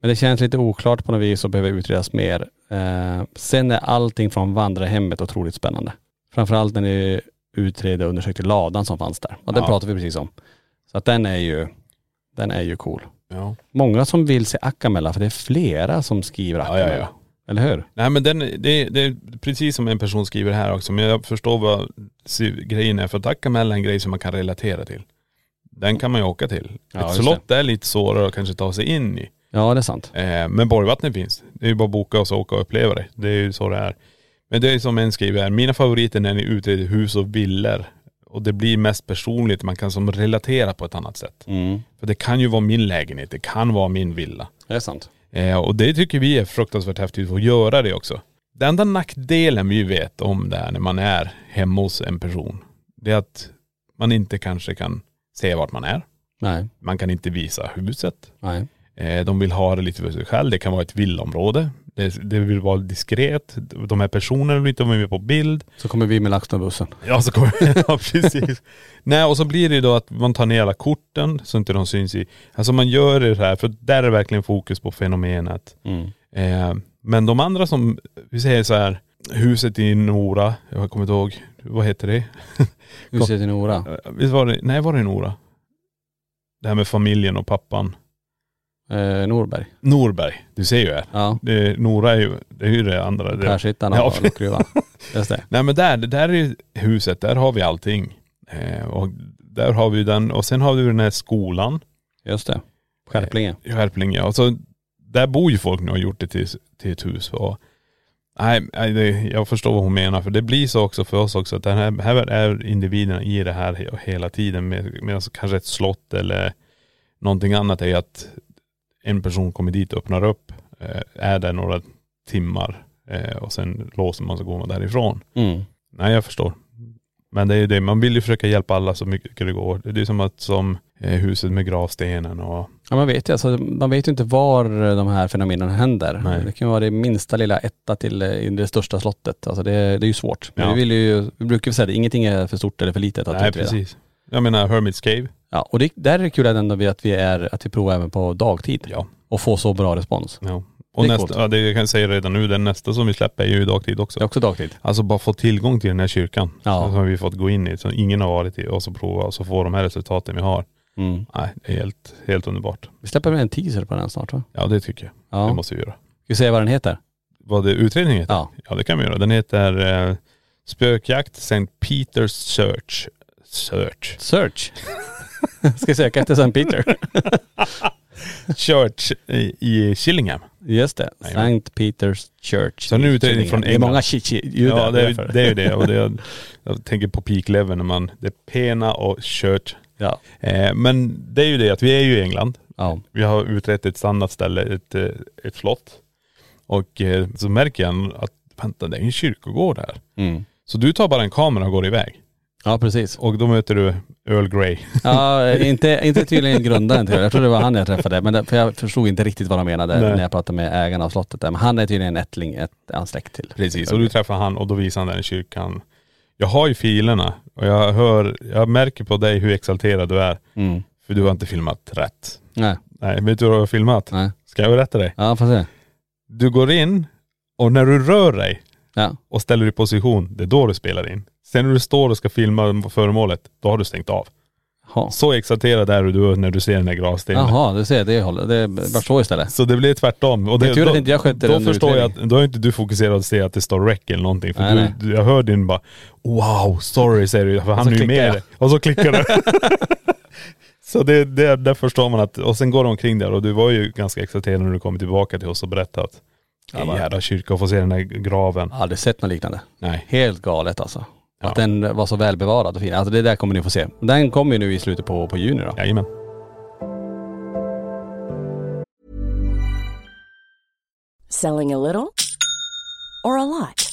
Speaker 2: Men det känns lite oklart på något vis och behöver utredas mer. Eh, Sen är allting från vandrarhemmet otroligt spännande. Framförallt när ni utredde och undersökte ladan som fanns där. Och den
Speaker 4: Ja.
Speaker 2: pratade vi precis om. Så att den är ju, den är ju cool.
Speaker 4: Ja.
Speaker 2: Många som vill se Akamella, för det är flera som skriver
Speaker 4: Ja, ja,
Speaker 2: Akamella.
Speaker 4: ja.
Speaker 2: Eller hur?
Speaker 4: Nej men den, det, det är precis som en person skriver här också. Men jag förstår vad sy- grejen är. För att Akamel är en grej som man kan relatera till. Den kan man ju åka till.
Speaker 2: Ja,
Speaker 4: Ett
Speaker 2: just
Speaker 4: slott är lite svårare att kanske ta sig in i.
Speaker 2: Ja det är sant.
Speaker 4: Eh, men Borgvattnet finns. Det är ju bara att boka och så åka och uppleva det. Det är ju så det är. Men det är som en skriver här. Mina favoriter när ni utreder hus och villor. Och det blir mest personligt. Man kan som relatera på ett annat sätt.
Speaker 2: Mm.
Speaker 4: För det kan ju vara min lägenhet. Det kan vara min villa.
Speaker 2: Det är sant.
Speaker 4: Eh, och det tycker vi är fruktansvärt häftigt att få göra det också. Den enda nackdelen vi vet om det här när man är hemma hos en person, det är att man inte kanske kan se vart man är.
Speaker 2: Nej,
Speaker 4: Man kan inte visa huset.
Speaker 2: nej.
Speaker 4: Eh, de vill ha det lite för sig själv. Det kan vara ett villområde. Det, det vill vara diskret. De här personerna vill inte vara med på bild.
Speaker 2: Så kommer vi med LaxTon-bussen.
Speaker 4: Ja så kommer ja precis. Nej och så blir det ju då att man tar ner alla korten så inte de syns i. Alltså man gör det här för där är verkligen fokus på fenomenet.
Speaker 2: Mm.
Speaker 4: Eh, men de andra som, vi säger så här, huset i Nora, jag kommer inte ihåg, vad heter det?
Speaker 2: Huset i Nora.
Speaker 4: Eh, Visst var det, nej var det Nora? Det här med familjen och pappan.
Speaker 2: Eh, Norberg.
Speaker 4: Norberg, du ser ju här.
Speaker 2: Ja.
Speaker 4: Det, Nora är ju, det är ju det andra. Det,
Speaker 2: Persittarna
Speaker 4: Ja,
Speaker 2: och
Speaker 4: precis.
Speaker 2: Lockruvan. Just det.
Speaker 4: nej men där, det där är ju huset, där har vi allting. Eh, och där har vi ju den, och sen har vi ju den här skolan
Speaker 2: Just det. Skärplinge.
Speaker 4: i Skärplinge. Och så, där bor ju folk nu och har gjort det till, till ett hus. Och, nej, nej det, jag förstår vad hon menar. För det blir så också för oss också. Att den här, här är individerna i det här he- hela tiden. med- Medan kanske ett slott eller någonting annat är ju att en person kommer dit och öppnar upp. eh, Är där några timmar. eh, Och sen låser man så går man därifrån.
Speaker 2: Mm.
Speaker 4: Nej jag förstår. Men det är ju det, man vill ju försöka hjälpa alla så mycket det går. Det är som att som eh, huset med gravstenen och..
Speaker 2: Ja man vet ju, alltså, man vet ju inte var de här fenomenen händer.
Speaker 4: Nej.
Speaker 2: Det kan vara det minsta lilla etta till eh, i det största slottet. Alltså det, det är ju svårt. Men
Speaker 4: Ja.
Speaker 2: Vi, vill ju, vi brukar ju säga att ingenting är för stort eller för litet att
Speaker 4: Nej
Speaker 2: utreda.
Speaker 4: precis. Jag menar Hermits Cave.
Speaker 2: Ja, och det, där är det kul ändå vi- att vi, är, att vi provar även på dagtid
Speaker 4: Ja.
Speaker 2: och får så bra respons.
Speaker 4: ja. Och
Speaker 2: Det är coolt.
Speaker 4: nästa, ja, det jag kan säga redan nu, den nästa som vi släpper är ju i dagtid också.
Speaker 2: Det är också dagtid.
Speaker 4: Alltså bara få tillgång till den här kyrkan.
Speaker 2: Ja.
Speaker 4: Som vi fått gå in i, som ingen har varit i och så prova och så få de här resultaten vi har.
Speaker 2: Mm.
Speaker 4: Nej, det är helt, helt underbart.
Speaker 2: Vi släpper väl en teaser på den snart va?
Speaker 4: Ja det tycker jag.
Speaker 2: Ja.
Speaker 4: Det
Speaker 2: Måste...
Speaker 4: måste vi göra.
Speaker 2: Ska vi säga vad den heter?
Speaker 4: Vad det utredningen heter?
Speaker 2: Ja.
Speaker 4: Ja det kan vi göra. Den heter eh, Spökjakt St. Peter's Church. Search.
Speaker 2: Search. Ska söka efter St. Peter.
Speaker 4: Church i, i Chillingham.
Speaker 2: Just det.
Speaker 4: Jajamän.
Speaker 2: St. Peters Church.
Speaker 4: Så en utredning
Speaker 2: Tydligen.
Speaker 4: från
Speaker 2: Det är
Speaker 4: England.
Speaker 2: många chi-chi-ljud
Speaker 4: Ja
Speaker 2: där,
Speaker 4: det är,
Speaker 2: därför.
Speaker 4: det är ju det. Och det jag, jag tänker på peak level när man, det är pena och church.
Speaker 2: Ja.
Speaker 4: Eh, men det är ju det att vi är ju i England.
Speaker 2: ja.
Speaker 4: Vi har utrett ett annat ställe, ett, eh, ett slott. Och eh, så märker jag att vänta det är en kyrkogård här.
Speaker 2: Mm.
Speaker 4: Så du tar bara en kamera och går iväg.
Speaker 2: Ja precis.
Speaker 4: Och då möter du Earl Grey.
Speaker 2: Ja, inte, inte tydligen grundaren till det. Jag tror det var han jag träffade. Men det, för jag förstod inte riktigt vad de menade
Speaker 4: Nej.
Speaker 2: när jag pratade med ägarna av slottet där. Men han är tydligen en ättling, ett, han släkt till. Mm.
Speaker 4: Precis, och du träffar han och då visar han den i kyrkan. Jag har ju filerna och jag hör, jag märker på dig hur exalterad du är.
Speaker 2: Mm.
Speaker 4: För du har inte filmat rätt.
Speaker 2: Nej,
Speaker 4: Nej, vet du vad jag har filmat?
Speaker 2: nej.
Speaker 4: Ska jag berätta dig?
Speaker 2: Ja, får se.
Speaker 4: Du går in och när du rör dig
Speaker 2: Ja.
Speaker 4: och ställer dig i position, det är då du spelar in. Sen när du står och ska filma föremålet, då har du stängt av.
Speaker 2: Ha.
Speaker 4: Så exalterad är du när du ser den här gravstenen.
Speaker 2: Jaha, du ser, det håller. Det vart så istället.
Speaker 4: Så det blir tvärtom. Och
Speaker 2: Det är tur att
Speaker 4: då-
Speaker 2: inte jag skötte
Speaker 4: Då
Speaker 2: den
Speaker 4: förstår jag
Speaker 2: utredningen.
Speaker 4: att, då är inte du fokuserad att se att det står rec eller någonting. För
Speaker 2: Nej,
Speaker 4: du,
Speaker 2: nej.
Speaker 4: Du, jag hör din bara, wow, sorry säger du. För han är ju
Speaker 2: klickar
Speaker 4: med
Speaker 2: jag.
Speaker 4: dig. Och så klickar du. så det, det, där förstår man att, och sen går de omkring där och du var ju ganska exalterad när du kom tillbaka till oss och berättade att,
Speaker 2: Ja,
Speaker 4: "Ej,
Speaker 2: va."
Speaker 4: jävla kyrka och få se den här graven.
Speaker 2: Aldrig sett något liknande.
Speaker 4: Mm. Nej.
Speaker 2: Helt galet alltså.
Speaker 4: Ja.
Speaker 2: Att den var så välbevarad och fin. Alltså det där kommer ni få se. Den kommer ju nu i slutet på, på juni då.
Speaker 4: Jajamän.
Speaker 6: Selling a little or a lot?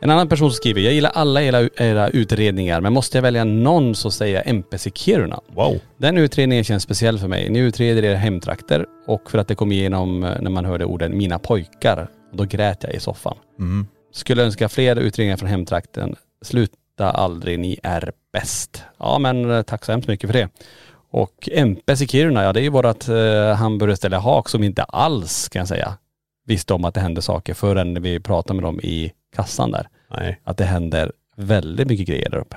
Speaker 2: En annan person skriver, jag gillar alla era, era utredningar men måste jag välja någon så säger jag MPC Kiruna.
Speaker 4: Wow.
Speaker 2: Den utredningen känns speciell för mig. Ni utreder era hemtrakter och för att det kom igenom eh, när man hörde orden mina pojkar, då grät jag i soffan.
Speaker 4: Mm.
Speaker 2: Skulle önska fler utredningar från hemtrakten. Sluta aldrig, ni är bäst. Ja men eh, tack så hemskt mycket för det. Och MPs i Kiruna, ja det är ju vårat eh, hamburgerställe Haak som inte alls kan jag säga visste om att det hände saker förrän vi pratade med dem i kassan där.
Speaker 4: Nej.
Speaker 2: Att det händer väldigt mycket grejer där uppe.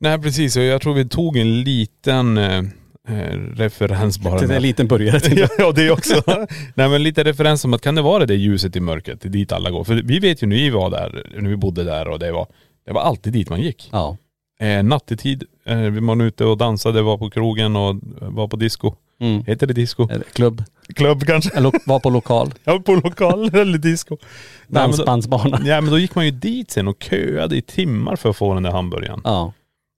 Speaker 4: Nej precis, och jag tror vi tog en liten eh, eh, referens bara.
Speaker 2: Det är
Speaker 4: med-
Speaker 2: en liten burgare till.
Speaker 4: ja, ja, det också. Nej men lite referens om att kan det vara det där ljuset i mörkret dit alla går? För vi vet ju när vi var där, när vi bodde där och det var, det var alltid dit man gick.
Speaker 2: Ja.
Speaker 4: Eh, nattetid, eh, man var ute och dansade, var på krogen och eh, var på disco.
Speaker 2: Mm.
Speaker 4: Heter det disco?
Speaker 2: Eller Klubb,
Speaker 4: Klubb kanske?
Speaker 2: Eller lo- var på lokal,
Speaker 4: Ja, på lokal eller disco. Nej, men då,
Speaker 2: dansbandsbana.
Speaker 4: ja men då gick man ju dit sen och köade i timmar för att få den där hamburgaren.
Speaker 2: Ja.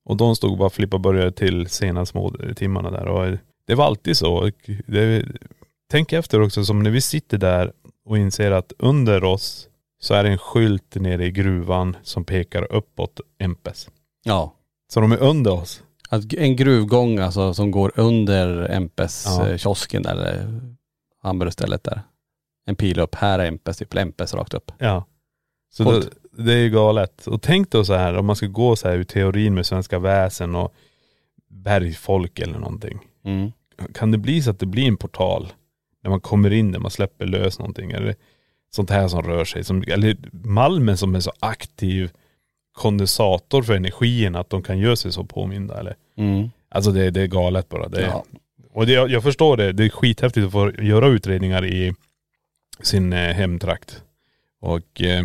Speaker 4: Och de stod och bara flippa burgare till sena små timmarna där. Och det var alltid så. Och det, tänk efter också, som när vi sitter där och inser att under oss så är det en skylt nere i gruvan som pekar uppåt Empes.
Speaker 2: ja.
Speaker 4: Så de är under oss.
Speaker 2: Att en gruvgång alltså som går under MPs
Speaker 4: Ja.
Speaker 2: eh, kiosken där, eller hamburgerstället där. En pil upp, här är MPs, typ eller MPs rakt upp.
Speaker 4: Ja. Så
Speaker 2: Coolt.
Speaker 4: det, det är ju galet. Och tänk då så här, om man ska gå så här ur teorin med svenska väsen och bergfolk eller någonting.
Speaker 2: Mm.
Speaker 4: kan det bli så att det blir en portal när man kommer in där man släpper lös någonting eller sånt här som rör sig. Som, eller malmen som är så aktiv kondensator för energin att de kan göra sig så påminda eller.
Speaker 2: Mm.
Speaker 4: Alltså det, det är galet bara. Det,
Speaker 2: Ja.
Speaker 4: Och det, jag, jag förstår det. Det är skithäftigt att få göra utredningar i sin eh, hemtrakt. Och eh,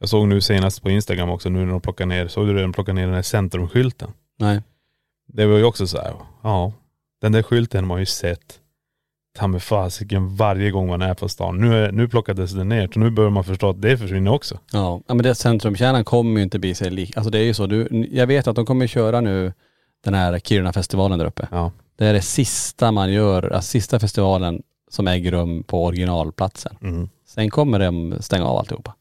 Speaker 4: jag såg nu senast på Instagram också nu när de plockar ner, såg du när de plockade ner den här centrumskylten?
Speaker 2: Nej.
Speaker 4: Det var ju också så här, ja, den där skylten har man ju sett ta mig fasiken varje gång man är på stan. Nu, är, nu plockades det ner, så nu börjar man förstå att det försvinner också.
Speaker 2: Ja, ja, men det centrumkärnan kommer ju inte bli sig lik. Alltså det är ju så, du, jag vet att de kommer köra nu den här Kiruna-festivalen där uppe.
Speaker 4: Ja.
Speaker 2: Det är det sista man gör, alltså sista festivalen som äger rum på originalplatsen.
Speaker 4: Mm.
Speaker 2: Sen kommer de stänga av alltihopa.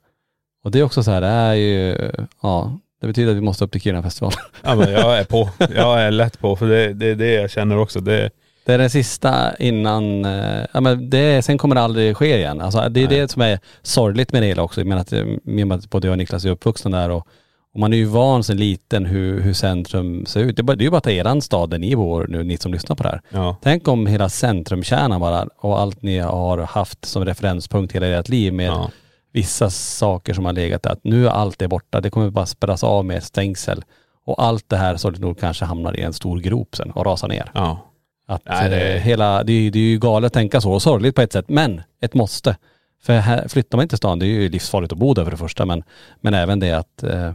Speaker 2: Och det är också så här, det är ju, ja, det betyder att vi måste upp till Kiruna-festivalen.
Speaker 4: Ja, men jag är på. Jag är lätt på, för det, det är det jag känner också. Det,
Speaker 2: Det är den sista innan, eh, ja men det, sen kommer det aldrig ske igen. Alltså det är
Speaker 4: Nej.
Speaker 2: det som är sorgligt med det hela också. Jag menar att, eh, i och med att både jag och Niklas är uppvuxna där och, och man är ju van sen liten hur, hur centrum ser ut. Det är bara- det är ju bara att ta eran stad där ni bor nu, ni som lyssnar på det här.
Speaker 4: ja.
Speaker 2: Tänk om hela centrumkärnan bara och allt ni har haft som referenspunkt hela ert liv med
Speaker 4: ja.
Speaker 2: vissa saker som har legat där. Att nu är allt det borta. Det kommer bara spärras av med ett stängsel. Och allt det här sorgligt nog kanske hamnar i en stor grop sen och rasar ner.
Speaker 4: ja.
Speaker 2: Att
Speaker 4: Nej, det är-
Speaker 2: eh, hela, det, är ju- det är ju galet att tänka så och sorgligt på ett sätt, men ett måste. För här flyttar man inte stan, det är ju livsfarligt att bo där för det första, men, men även det att eh,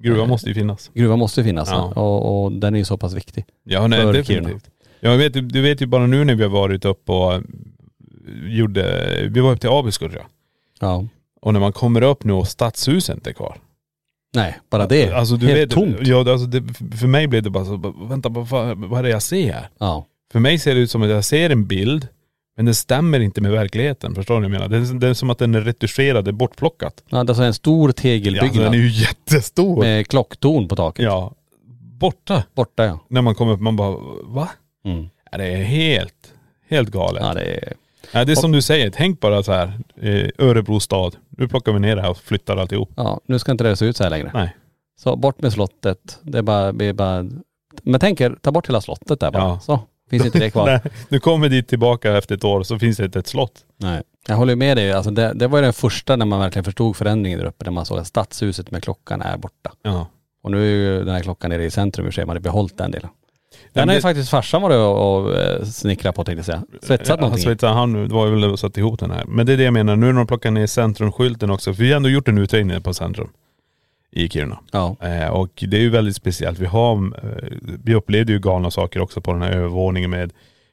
Speaker 4: Gruvan måste ju finnas.
Speaker 2: gruvan måste ju finnas
Speaker 4: Ja.
Speaker 2: och, och den är ju så pass viktig.
Speaker 4: Ja, nej,
Speaker 2: För
Speaker 4: definitivt. Ja, jag vet, du vet ju bara nu när vi har varit upp och eh, gjorde, vi var upp till Abisko tror jag.
Speaker 2: Ja.
Speaker 4: Och när man kommer upp nu och stadshuset inte är kvar.
Speaker 2: Nej, bara det.
Speaker 4: Alltså du
Speaker 2: Helt
Speaker 4: vet,
Speaker 2: tomt.
Speaker 4: Ja, alltså det, för mig blev det bara så, bara, vänta vad, fan- vad är det jag ser här?
Speaker 2: Ja.
Speaker 4: För mig ser det ut som att jag ser en bild, men den stämmer inte med verkligheten. Förstår ni vad jag menar? Det är, det är som att den är retuscherad, det är bortplockat.
Speaker 2: ja, det är så en stor
Speaker 4: Ja, alltså,
Speaker 2: tegelbyggnad
Speaker 4: den är ju jättestor.
Speaker 2: med klocktorn på taket.
Speaker 4: Ja. Borta.
Speaker 2: Borta ja.
Speaker 4: När man kommer upp, man bara, va?
Speaker 2: Mm.
Speaker 4: Ja, det är helt, helt galet.
Speaker 2: ja det är,
Speaker 4: Ja, det är som du säger, tänk bara så här, eh, Örebro stad, nu plockar vi ner det här och flyttar alltihop.
Speaker 2: ja, nu ska inte det se ut så här längre.
Speaker 4: Nej.
Speaker 2: Så bort med slottet. Det är bara, det är bara men tänk er, ta bort hela slottet där bara.
Speaker 4: Ja.
Speaker 2: Så, finns inte det kvar.
Speaker 4: Nej, nu kommer dit tillbaka efter ett år så finns det inte ett slott.
Speaker 2: Nej. Jag håller med dig. Alltså det, det var ju den första när man verkligen förstod förändringen där uppe, när man såg att stadshuset med klockan är borta.
Speaker 4: Ja.
Speaker 2: Och nu är ju den här klockan nere i centrum i och för sig, man hade behållit den delen.
Speaker 4: men
Speaker 2: Den har ju
Speaker 4: det-
Speaker 2: faktiskt farsan varit och, och eh, snickrat på tänkte jag säga. Svetsat
Speaker 4: Ja,
Speaker 2: någonting. i.
Speaker 4: Svetsat, han var väl och satte ihop den här. Men det är det jag menar, nu när de plockar ner centrumskylten också, för vi har ändå gjort en utredning på centrum i Kiruna.
Speaker 2: Ja.
Speaker 4: Eh, och det är ju väldigt speciellt. Vi, har, eh, vi upplevde ju galna saker också på den här övervåningen med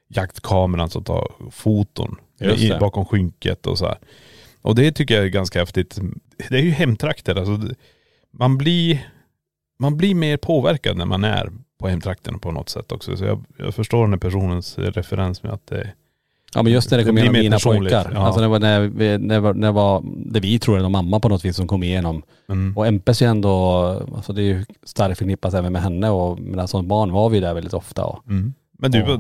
Speaker 4: jaktkameran som tar foton
Speaker 2: Just
Speaker 4: i,
Speaker 2: det.
Speaker 4: bakom skynket och så här. Och det tycker jag är ganska häftigt. Det är ju hemtrakter. Alltså, det- man, blir, man blir mer påverkad när man är på hemtrakten på något sätt också. Så jag, jag förstår den här personens eh, referens med att det
Speaker 2: ja men just när det
Speaker 4: Det
Speaker 2: kom
Speaker 4: blir
Speaker 2: igenom
Speaker 4: mer
Speaker 2: mina
Speaker 4: personligt,
Speaker 2: pojkar.
Speaker 4: ja.
Speaker 2: Alltså det var när, vi- när, var- när var det vi tror är någon mamma på något vis som kom igenom.
Speaker 4: mm.
Speaker 2: Och MPs är ju ändå, alltså det är ju starkt förknippas även med henne och medan som barn var vi där väldigt ofta. Och,
Speaker 4: Mm. Men du,
Speaker 2: Ja.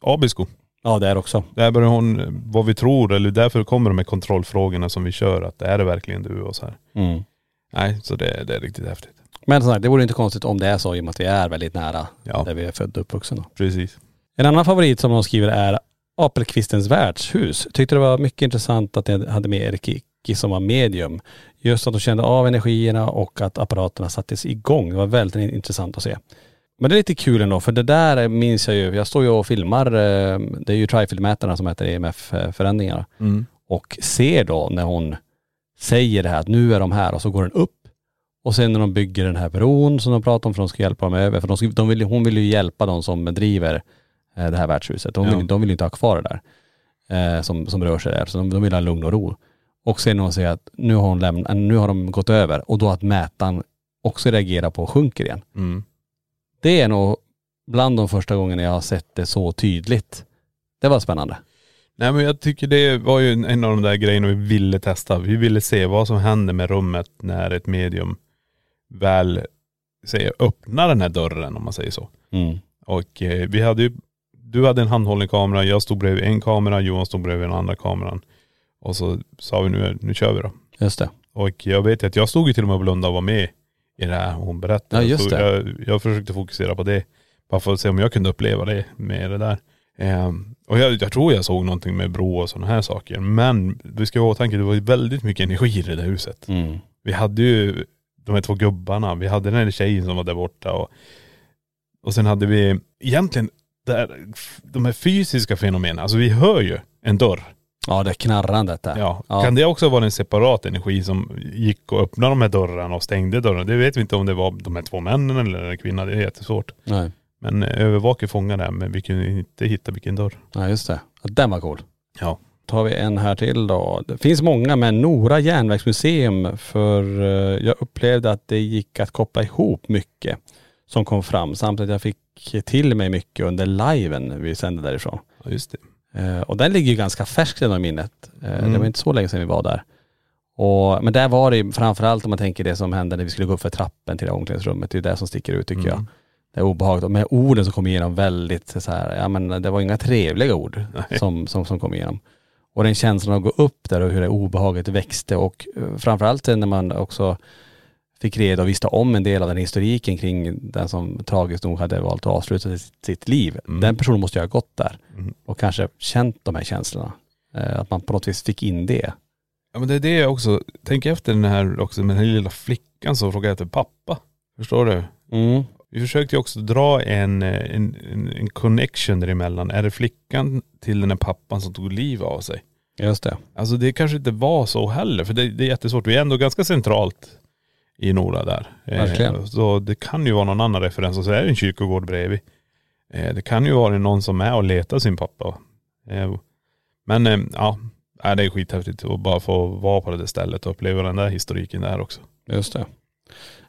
Speaker 4: Abisko,
Speaker 2: ja det är också.
Speaker 4: där börjar hon, vad vi tror, eller därför kommer de här kontrollfrågorna som vi kör, att är det verkligen du och så här.
Speaker 2: Mm.
Speaker 4: Nej, så det, det är riktigt häftigt.
Speaker 2: Men som sagt, det vore inte konstigt om det är så i och med att vi är väldigt nära
Speaker 4: Ja.
Speaker 2: där vi är födda och uppvuxna.
Speaker 4: Precis.
Speaker 2: En annan favorit som de skriver är Apelkvistens värdshus. Tyckte det var mycket intressant att ni hade med Erik Icke som var medium. Just att de kände av energierna och att apparaterna sattes igång. Det var väldigt in- intressant att se. Men det är lite kul ändå, för det där minns jag ju. Jag står ju och filmar, eh, det är ju trifieldmätarna som E mäter EMF-förändringarna.
Speaker 4: Mm.
Speaker 2: Och ser då när hon säger det här att nu är de här och så går den upp. Och sen när de bygger den här bron som de pratar om för de ska hjälpa dem över. För de ska, de vill, ju- hon vill ju hjälpa de som driver eh, det här värdshuset. De vill,
Speaker 4: Ja.
Speaker 2: de vill ju inte ha kvar det där eh, som, som rör sig där. Så de, de vill ha lugn och ro. Och sen när hon säger att nu har, hon lämnat, eh, nu har de gått över och då att mätaren också reagerar på och sjunker igen.
Speaker 4: Mm.
Speaker 2: Det är nog bland de första gångerna jag har sett det så tydligt. Det var spännande.
Speaker 4: Nej men jag tycker det var ju en- en av de där grejerna vi ville testa. Vi ville se vad som händer med rummet när ett medium väl säger, öppnar den här dörren om man säger så.
Speaker 2: Mm.
Speaker 4: Och eh, vi hade ju, du hade en handhållen kamera, jag stod bredvid en kamera, Johan stod bredvid den andra kameran. Och så sa vi nu, nu kör vi då.
Speaker 2: Just det.
Speaker 4: Och jag vet ju att jag stod ju till och med och blundade och var med i det här hon berättade.
Speaker 2: Ja, just
Speaker 4: Så
Speaker 2: det.
Speaker 4: Jag, jag försökte fokusera på det. Bara för att se om jag kunde uppleva det med det där. Ehm, och jag, jag tror jag såg någonting med bro och sådana här saker. Men du ska ha i åtanke, det var ju väldigt mycket energi i det där huset.
Speaker 2: Mm.
Speaker 4: Vi hade ju de här två gubbarna, vi hade den här tjejen som var där borta och, och sen hade vi egentligen där, de här fysiska fenomenen. Alltså vi hör ju en dörr.
Speaker 2: Ja det knarrandet där.
Speaker 4: Ja. Kan det också vara en separat energi som gick och öppnade de här dörrarna och stängde dörrarna? Det vet vi inte om det var de här två männen eller en kvinna. Det är jättesvårt.
Speaker 2: Nej.
Speaker 4: Men eh, övervakare fångade det, här, men vi kunde inte hitta vilken dörr.
Speaker 2: Ja just det. Den var cool.
Speaker 4: Ja.
Speaker 2: tar vi en här till då. Det finns många men Nora järnvägsmuseum för eh, jag upplevde att det gick att koppla ihop mycket som kom fram samt att jag fick till mig mycket under liven vi sände därifrån.
Speaker 4: ja, just det.
Speaker 2: Eh, och den ligger ju ganska färskt i minnet. Eh,
Speaker 4: Mm.
Speaker 2: Det var inte så länge sedan vi var där. Och, men där var det ju framförallt om man tänker det som hände när vi skulle gå upp för trappen till det här omklädningsrummet. Det är det som sticker ut
Speaker 4: Mm.
Speaker 2: tycker jag. Det är obehagligt. Och med orden som kom igenom väldigt så här, ja men det var inga trevliga ord som, som, som kom igenom. Och den känslan att gå upp där och hur det obehaget växte och eh, framförallt när man också fick reda och visste om en del av den historiken kring den som tragiskt nog hade valt att avsluta sitt, sitt liv. Den personen måste ju ha gått där och kanske känt de här känslorna. Eh, Att man på något vis fick in det.
Speaker 4: Ja men det är det jag också, tänk efter den här också med den här lilla flickan som frågar efter pappa. Förstår du? Vi försökte ju också dra en, eh, en, en, en connection däremellan. Är det flickan till den här pappan som tog liv av sig?
Speaker 2: Just det.
Speaker 4: Alltså det kanske inte var så heller, för det, det är jättesvårt. Vi är ändå ganska centralt i Nora där. Eh,
Speaker 2: Verkligen.
Speaker 4: Så det kan ju vara någon annan referens och så är det en kyrkogård bredvid. Eh, Det kan ju vara någon som är och letar sin pappa. Eh, Men eh, ja, nej, det är skithäftigt att bara få vara på det där stället och uppleva den där historiken där också.
Speaker 2: Just det.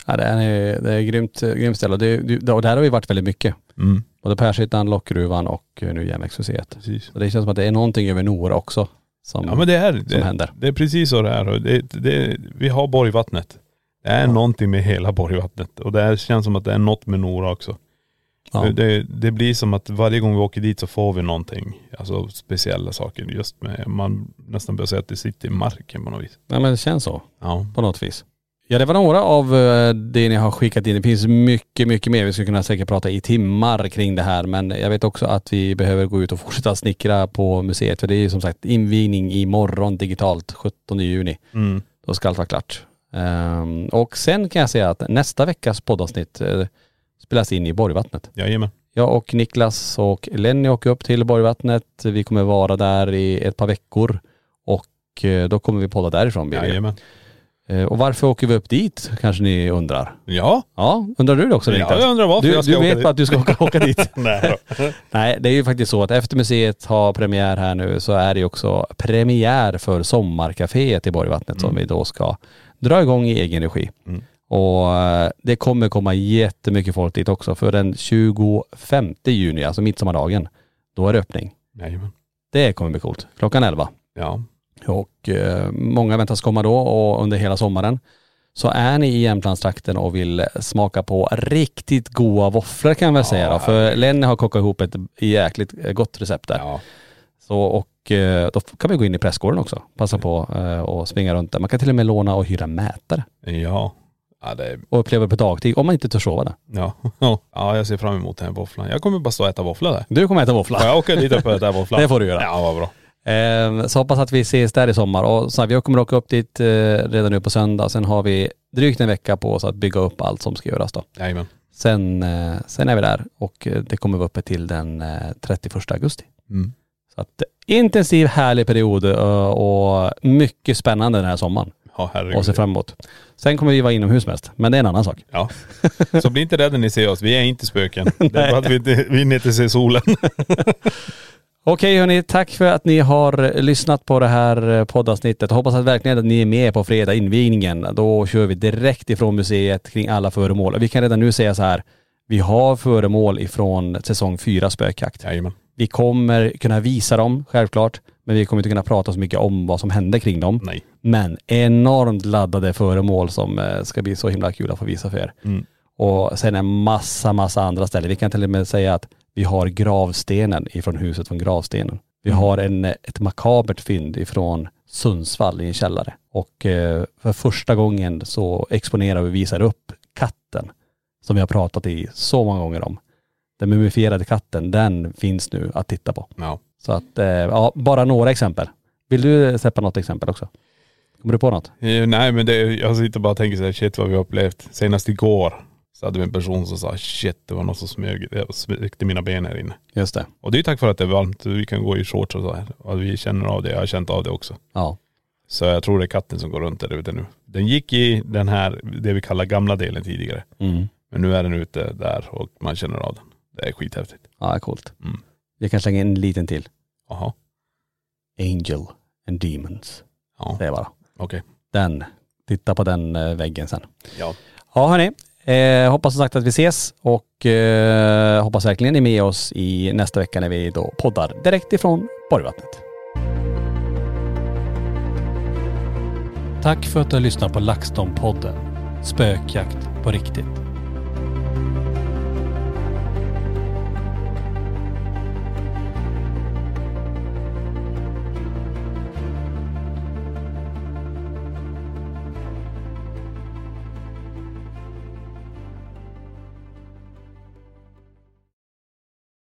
Speaker 2: Ja, det är, det är grymt, grymt ställe och, det, det, och där har vi varit väldigt mycket.
Speaker 4: Mm.
Speaker 2: Både Pershyttan, Lockruvan och eh, nu Järnvägsmuseet.
Speaker 4: Precis.
Speaker 2: Och det känns som att det är någonting över Nora också som,
Speaker 4: Ja men det är
Speaker 2: Mm. som
Speaker 4: det.
Speaker 2: händer.
Speaker 4: Det är precis så det är. Och Det, det, vi har Borgvattnet. Det är någonting med hela Borgvattnet. Och det är, känns som att det är något med Nora också.
Speaker 2: Ja.
Speaker 4: Det, det blir som att varje gång vi åker dit så får vi någonting, alltså speciella saker just med, man nästan börjar säga att det sitter i marken på något vis.
Speaker 2: ja men det känns så.
Speaker 4: Ja.
Speaker 2: på något vis. Ja det var några av eh, det ni har skickat in. Det finns mycket, mycket mer. Vi skulle kunna säkert prata i timmar kring det här men jag vet också att vi behöver gå ut och fortsätta snickra på museet för det är ju som sagt invigning imorgon digitalt 17 juni.
Speaker 4: Mm.
Speaker 2: Då ska allt vara klart. Ehm, och sen kan jag säga att nästa veckas poddavsnitt eh, spelas in i Borgvattnet.
Speaker 4: Jajamän.
Speaker 2: Jag och Niklas och Lenny åker upp till Borgvattnet. Vi kommer vara där i ett par veckor och eh, då kommer vi podda därifrån. blir det ju.
Speaker 4: Jajamän.
Speaker 2: Eh, Och varför åker vi upp dit kanske ni undrar?
Speaker 4: Ja.
Speaker 2: Ja, undrar du det också
Speaker 4: Ja,
Speaker 2: Niklas?
Speaker 4: jag undrar varför
Speaker 2: du,
Speaker 4: jag ska
Speaker 2: Du
Speaker 4: åka
Speaker 2: vet
Speaker 4: dit.
Speaker 2: bara att du ska åka, åka dit.
Speaker 4: Nej då.
Speaker 2: Nej, det är ju faktiskt så att efter museet har premiär här nu så är det ju också premiär för sommarkaféet i Borgvattnet som vi då ska dra igång i egen regi. Och eh, det kommer komma jättemycket folk dit också för den 25 juni, alltså midsommardagen, då är det öppning.
Speaker 4: Jajamän.
Speaker 2: Det kommer bli coolt. Klockan 11.
Speaker 4: Ja.
Speaker 2: Och eh, många väntas komma då och under hela sommaren. Så är ni i Jämtlandstrakten och vill smaka på riktigt goda våfflor kan jag väl säga då. För Lenny har kokat ihop ett jäkligt eh, gott recept där.
Speaker 4: ja.
Speaker 2: Så, och eh, då kan vi gå in i prästgården också. Passa på eh, och springa runt där. Man kan till och med låna och hyra mätare
Speaker 4: Ja. Ja, det är,
Speaker 2: och uppleva det på dagtid om man inte törs sova där.
Speaker 4: ja. ja, jag ser fram emot den här våfflan. Jag kommer bara stå och äta våffla där.
Speaker 2: Du kommer äta våffla.
Speaker 4: Får jag åka dit upp och äta våffla?
Speaker 2: Det får du göra.
Speaker 4: Ja, vad bra.
Speaker 2: Eh, Så hoppas att vi ses där i sommar. Och så här, vi kommer åka upp dit eh, redan nu på söndag. Sen har vi drygt en vecka på oss att bygga upp allt som ska göras då.
Speaker 4: Jajamän.
Speaker 2: Sen, eh, sen är vi där och eh, det kommer vara uppe till den eh, 31 augusti.
Speaker 4: Mm.
Speaker 2: Så att eh, intensiv härlig period eh, och mycket spännande den här sommaren
Speaker 4: Ja, herregud.
Speaker 2: och se fram emot. Sen kommer vi vara inomhus mest, men det är en annan sak.
Speaker 4: Ja. Så bli inte rädda när ni ser oss. Vi är inte spöken. det är bara att vi inte, vi hinner inte se solen.
Speaker 2: Okej hörni, tack för att ni har eh, lyssnat på det här eh, poddavsnittet. Hoppas att verkligen att ni är med på fredag, invigningen. Då kör vi direkt ifrån museet kring alla föremål. Och Vi kan redan nu säga så här, vi har föremål ifrån säsong 4 spökjakt.
Speaker 4: Jajamän.
Speaker 2: Vi kommer kunna visa dem, självklart, men vi kommer inte kunna prata så mycket om vad som hände kring dem.
Speaker 4: Nej.
Speaker 2: Men enormt laddade föremål som eh, ska bli så himla kul att få visa för er. Och sen en massa, massa andra ställen. Vi kan till och med säga att vi har gravstenen ifrån huset från gravstenen. Vi har en, eh, ett makabert fynd ifrån Sundsvall i en källare. Och eh, för första gången så exponerar vi och visar upp katten som vi har pratat i så många gånger om. Den mumifierade katten, den finns nu att titta på.
Speaker 4: Ja.
Speaker 2: Så att, eh, ja, bara några exempel. Vill du släppa något exempel också? Kommer du på något?
Speaker 4: Eh, Nej men det, jag sitter bara och tänker så här, shit vad vi har upplevt. Senast igår så hade vi en person som sa, shit det var någon som smög, eh, smög till mina ben här inne.
Speaker 2: Just det.
Speaker 4: Och det är ju tack vare att det är varmt, vi kan gå i shorts och så här. Och vi känner av det, jag har känt av det också.
Speaker 2: Ja.
Speaker 4: Så jag tror det är katten som går runt där ute nu. Den gick i den här, det vi kallar gamla delen tidigare.
Speaker 2: Mm.
Speaker 4: Men nu är den ute där och man känner av den. Det är skithäftigt.
Speaker 2: Ja, coolt.
Speaker 4: Mm.
Speaker 2: Jag kan slänga in en liten till.
Speaker 4: Jaha.
Speaker 2: Angel and Demons.
Speaker 4: Ja,
Speaker 2: Det är bara.
Speaker 4: okej.
Speaker 2: Den. Titta på den eh, väggen sen.
Speaker 4: Ja.
Speaker 2: Ja hörni, eh, hoppas som sagt att vi ses och eh, hoppas verkligen ni är med oss i nästa vecka när vi då poddar direkt ifrån Borgvattnet. Tack för att du har lyssnat på LaxTon-podden. Spökjakt på riktigt.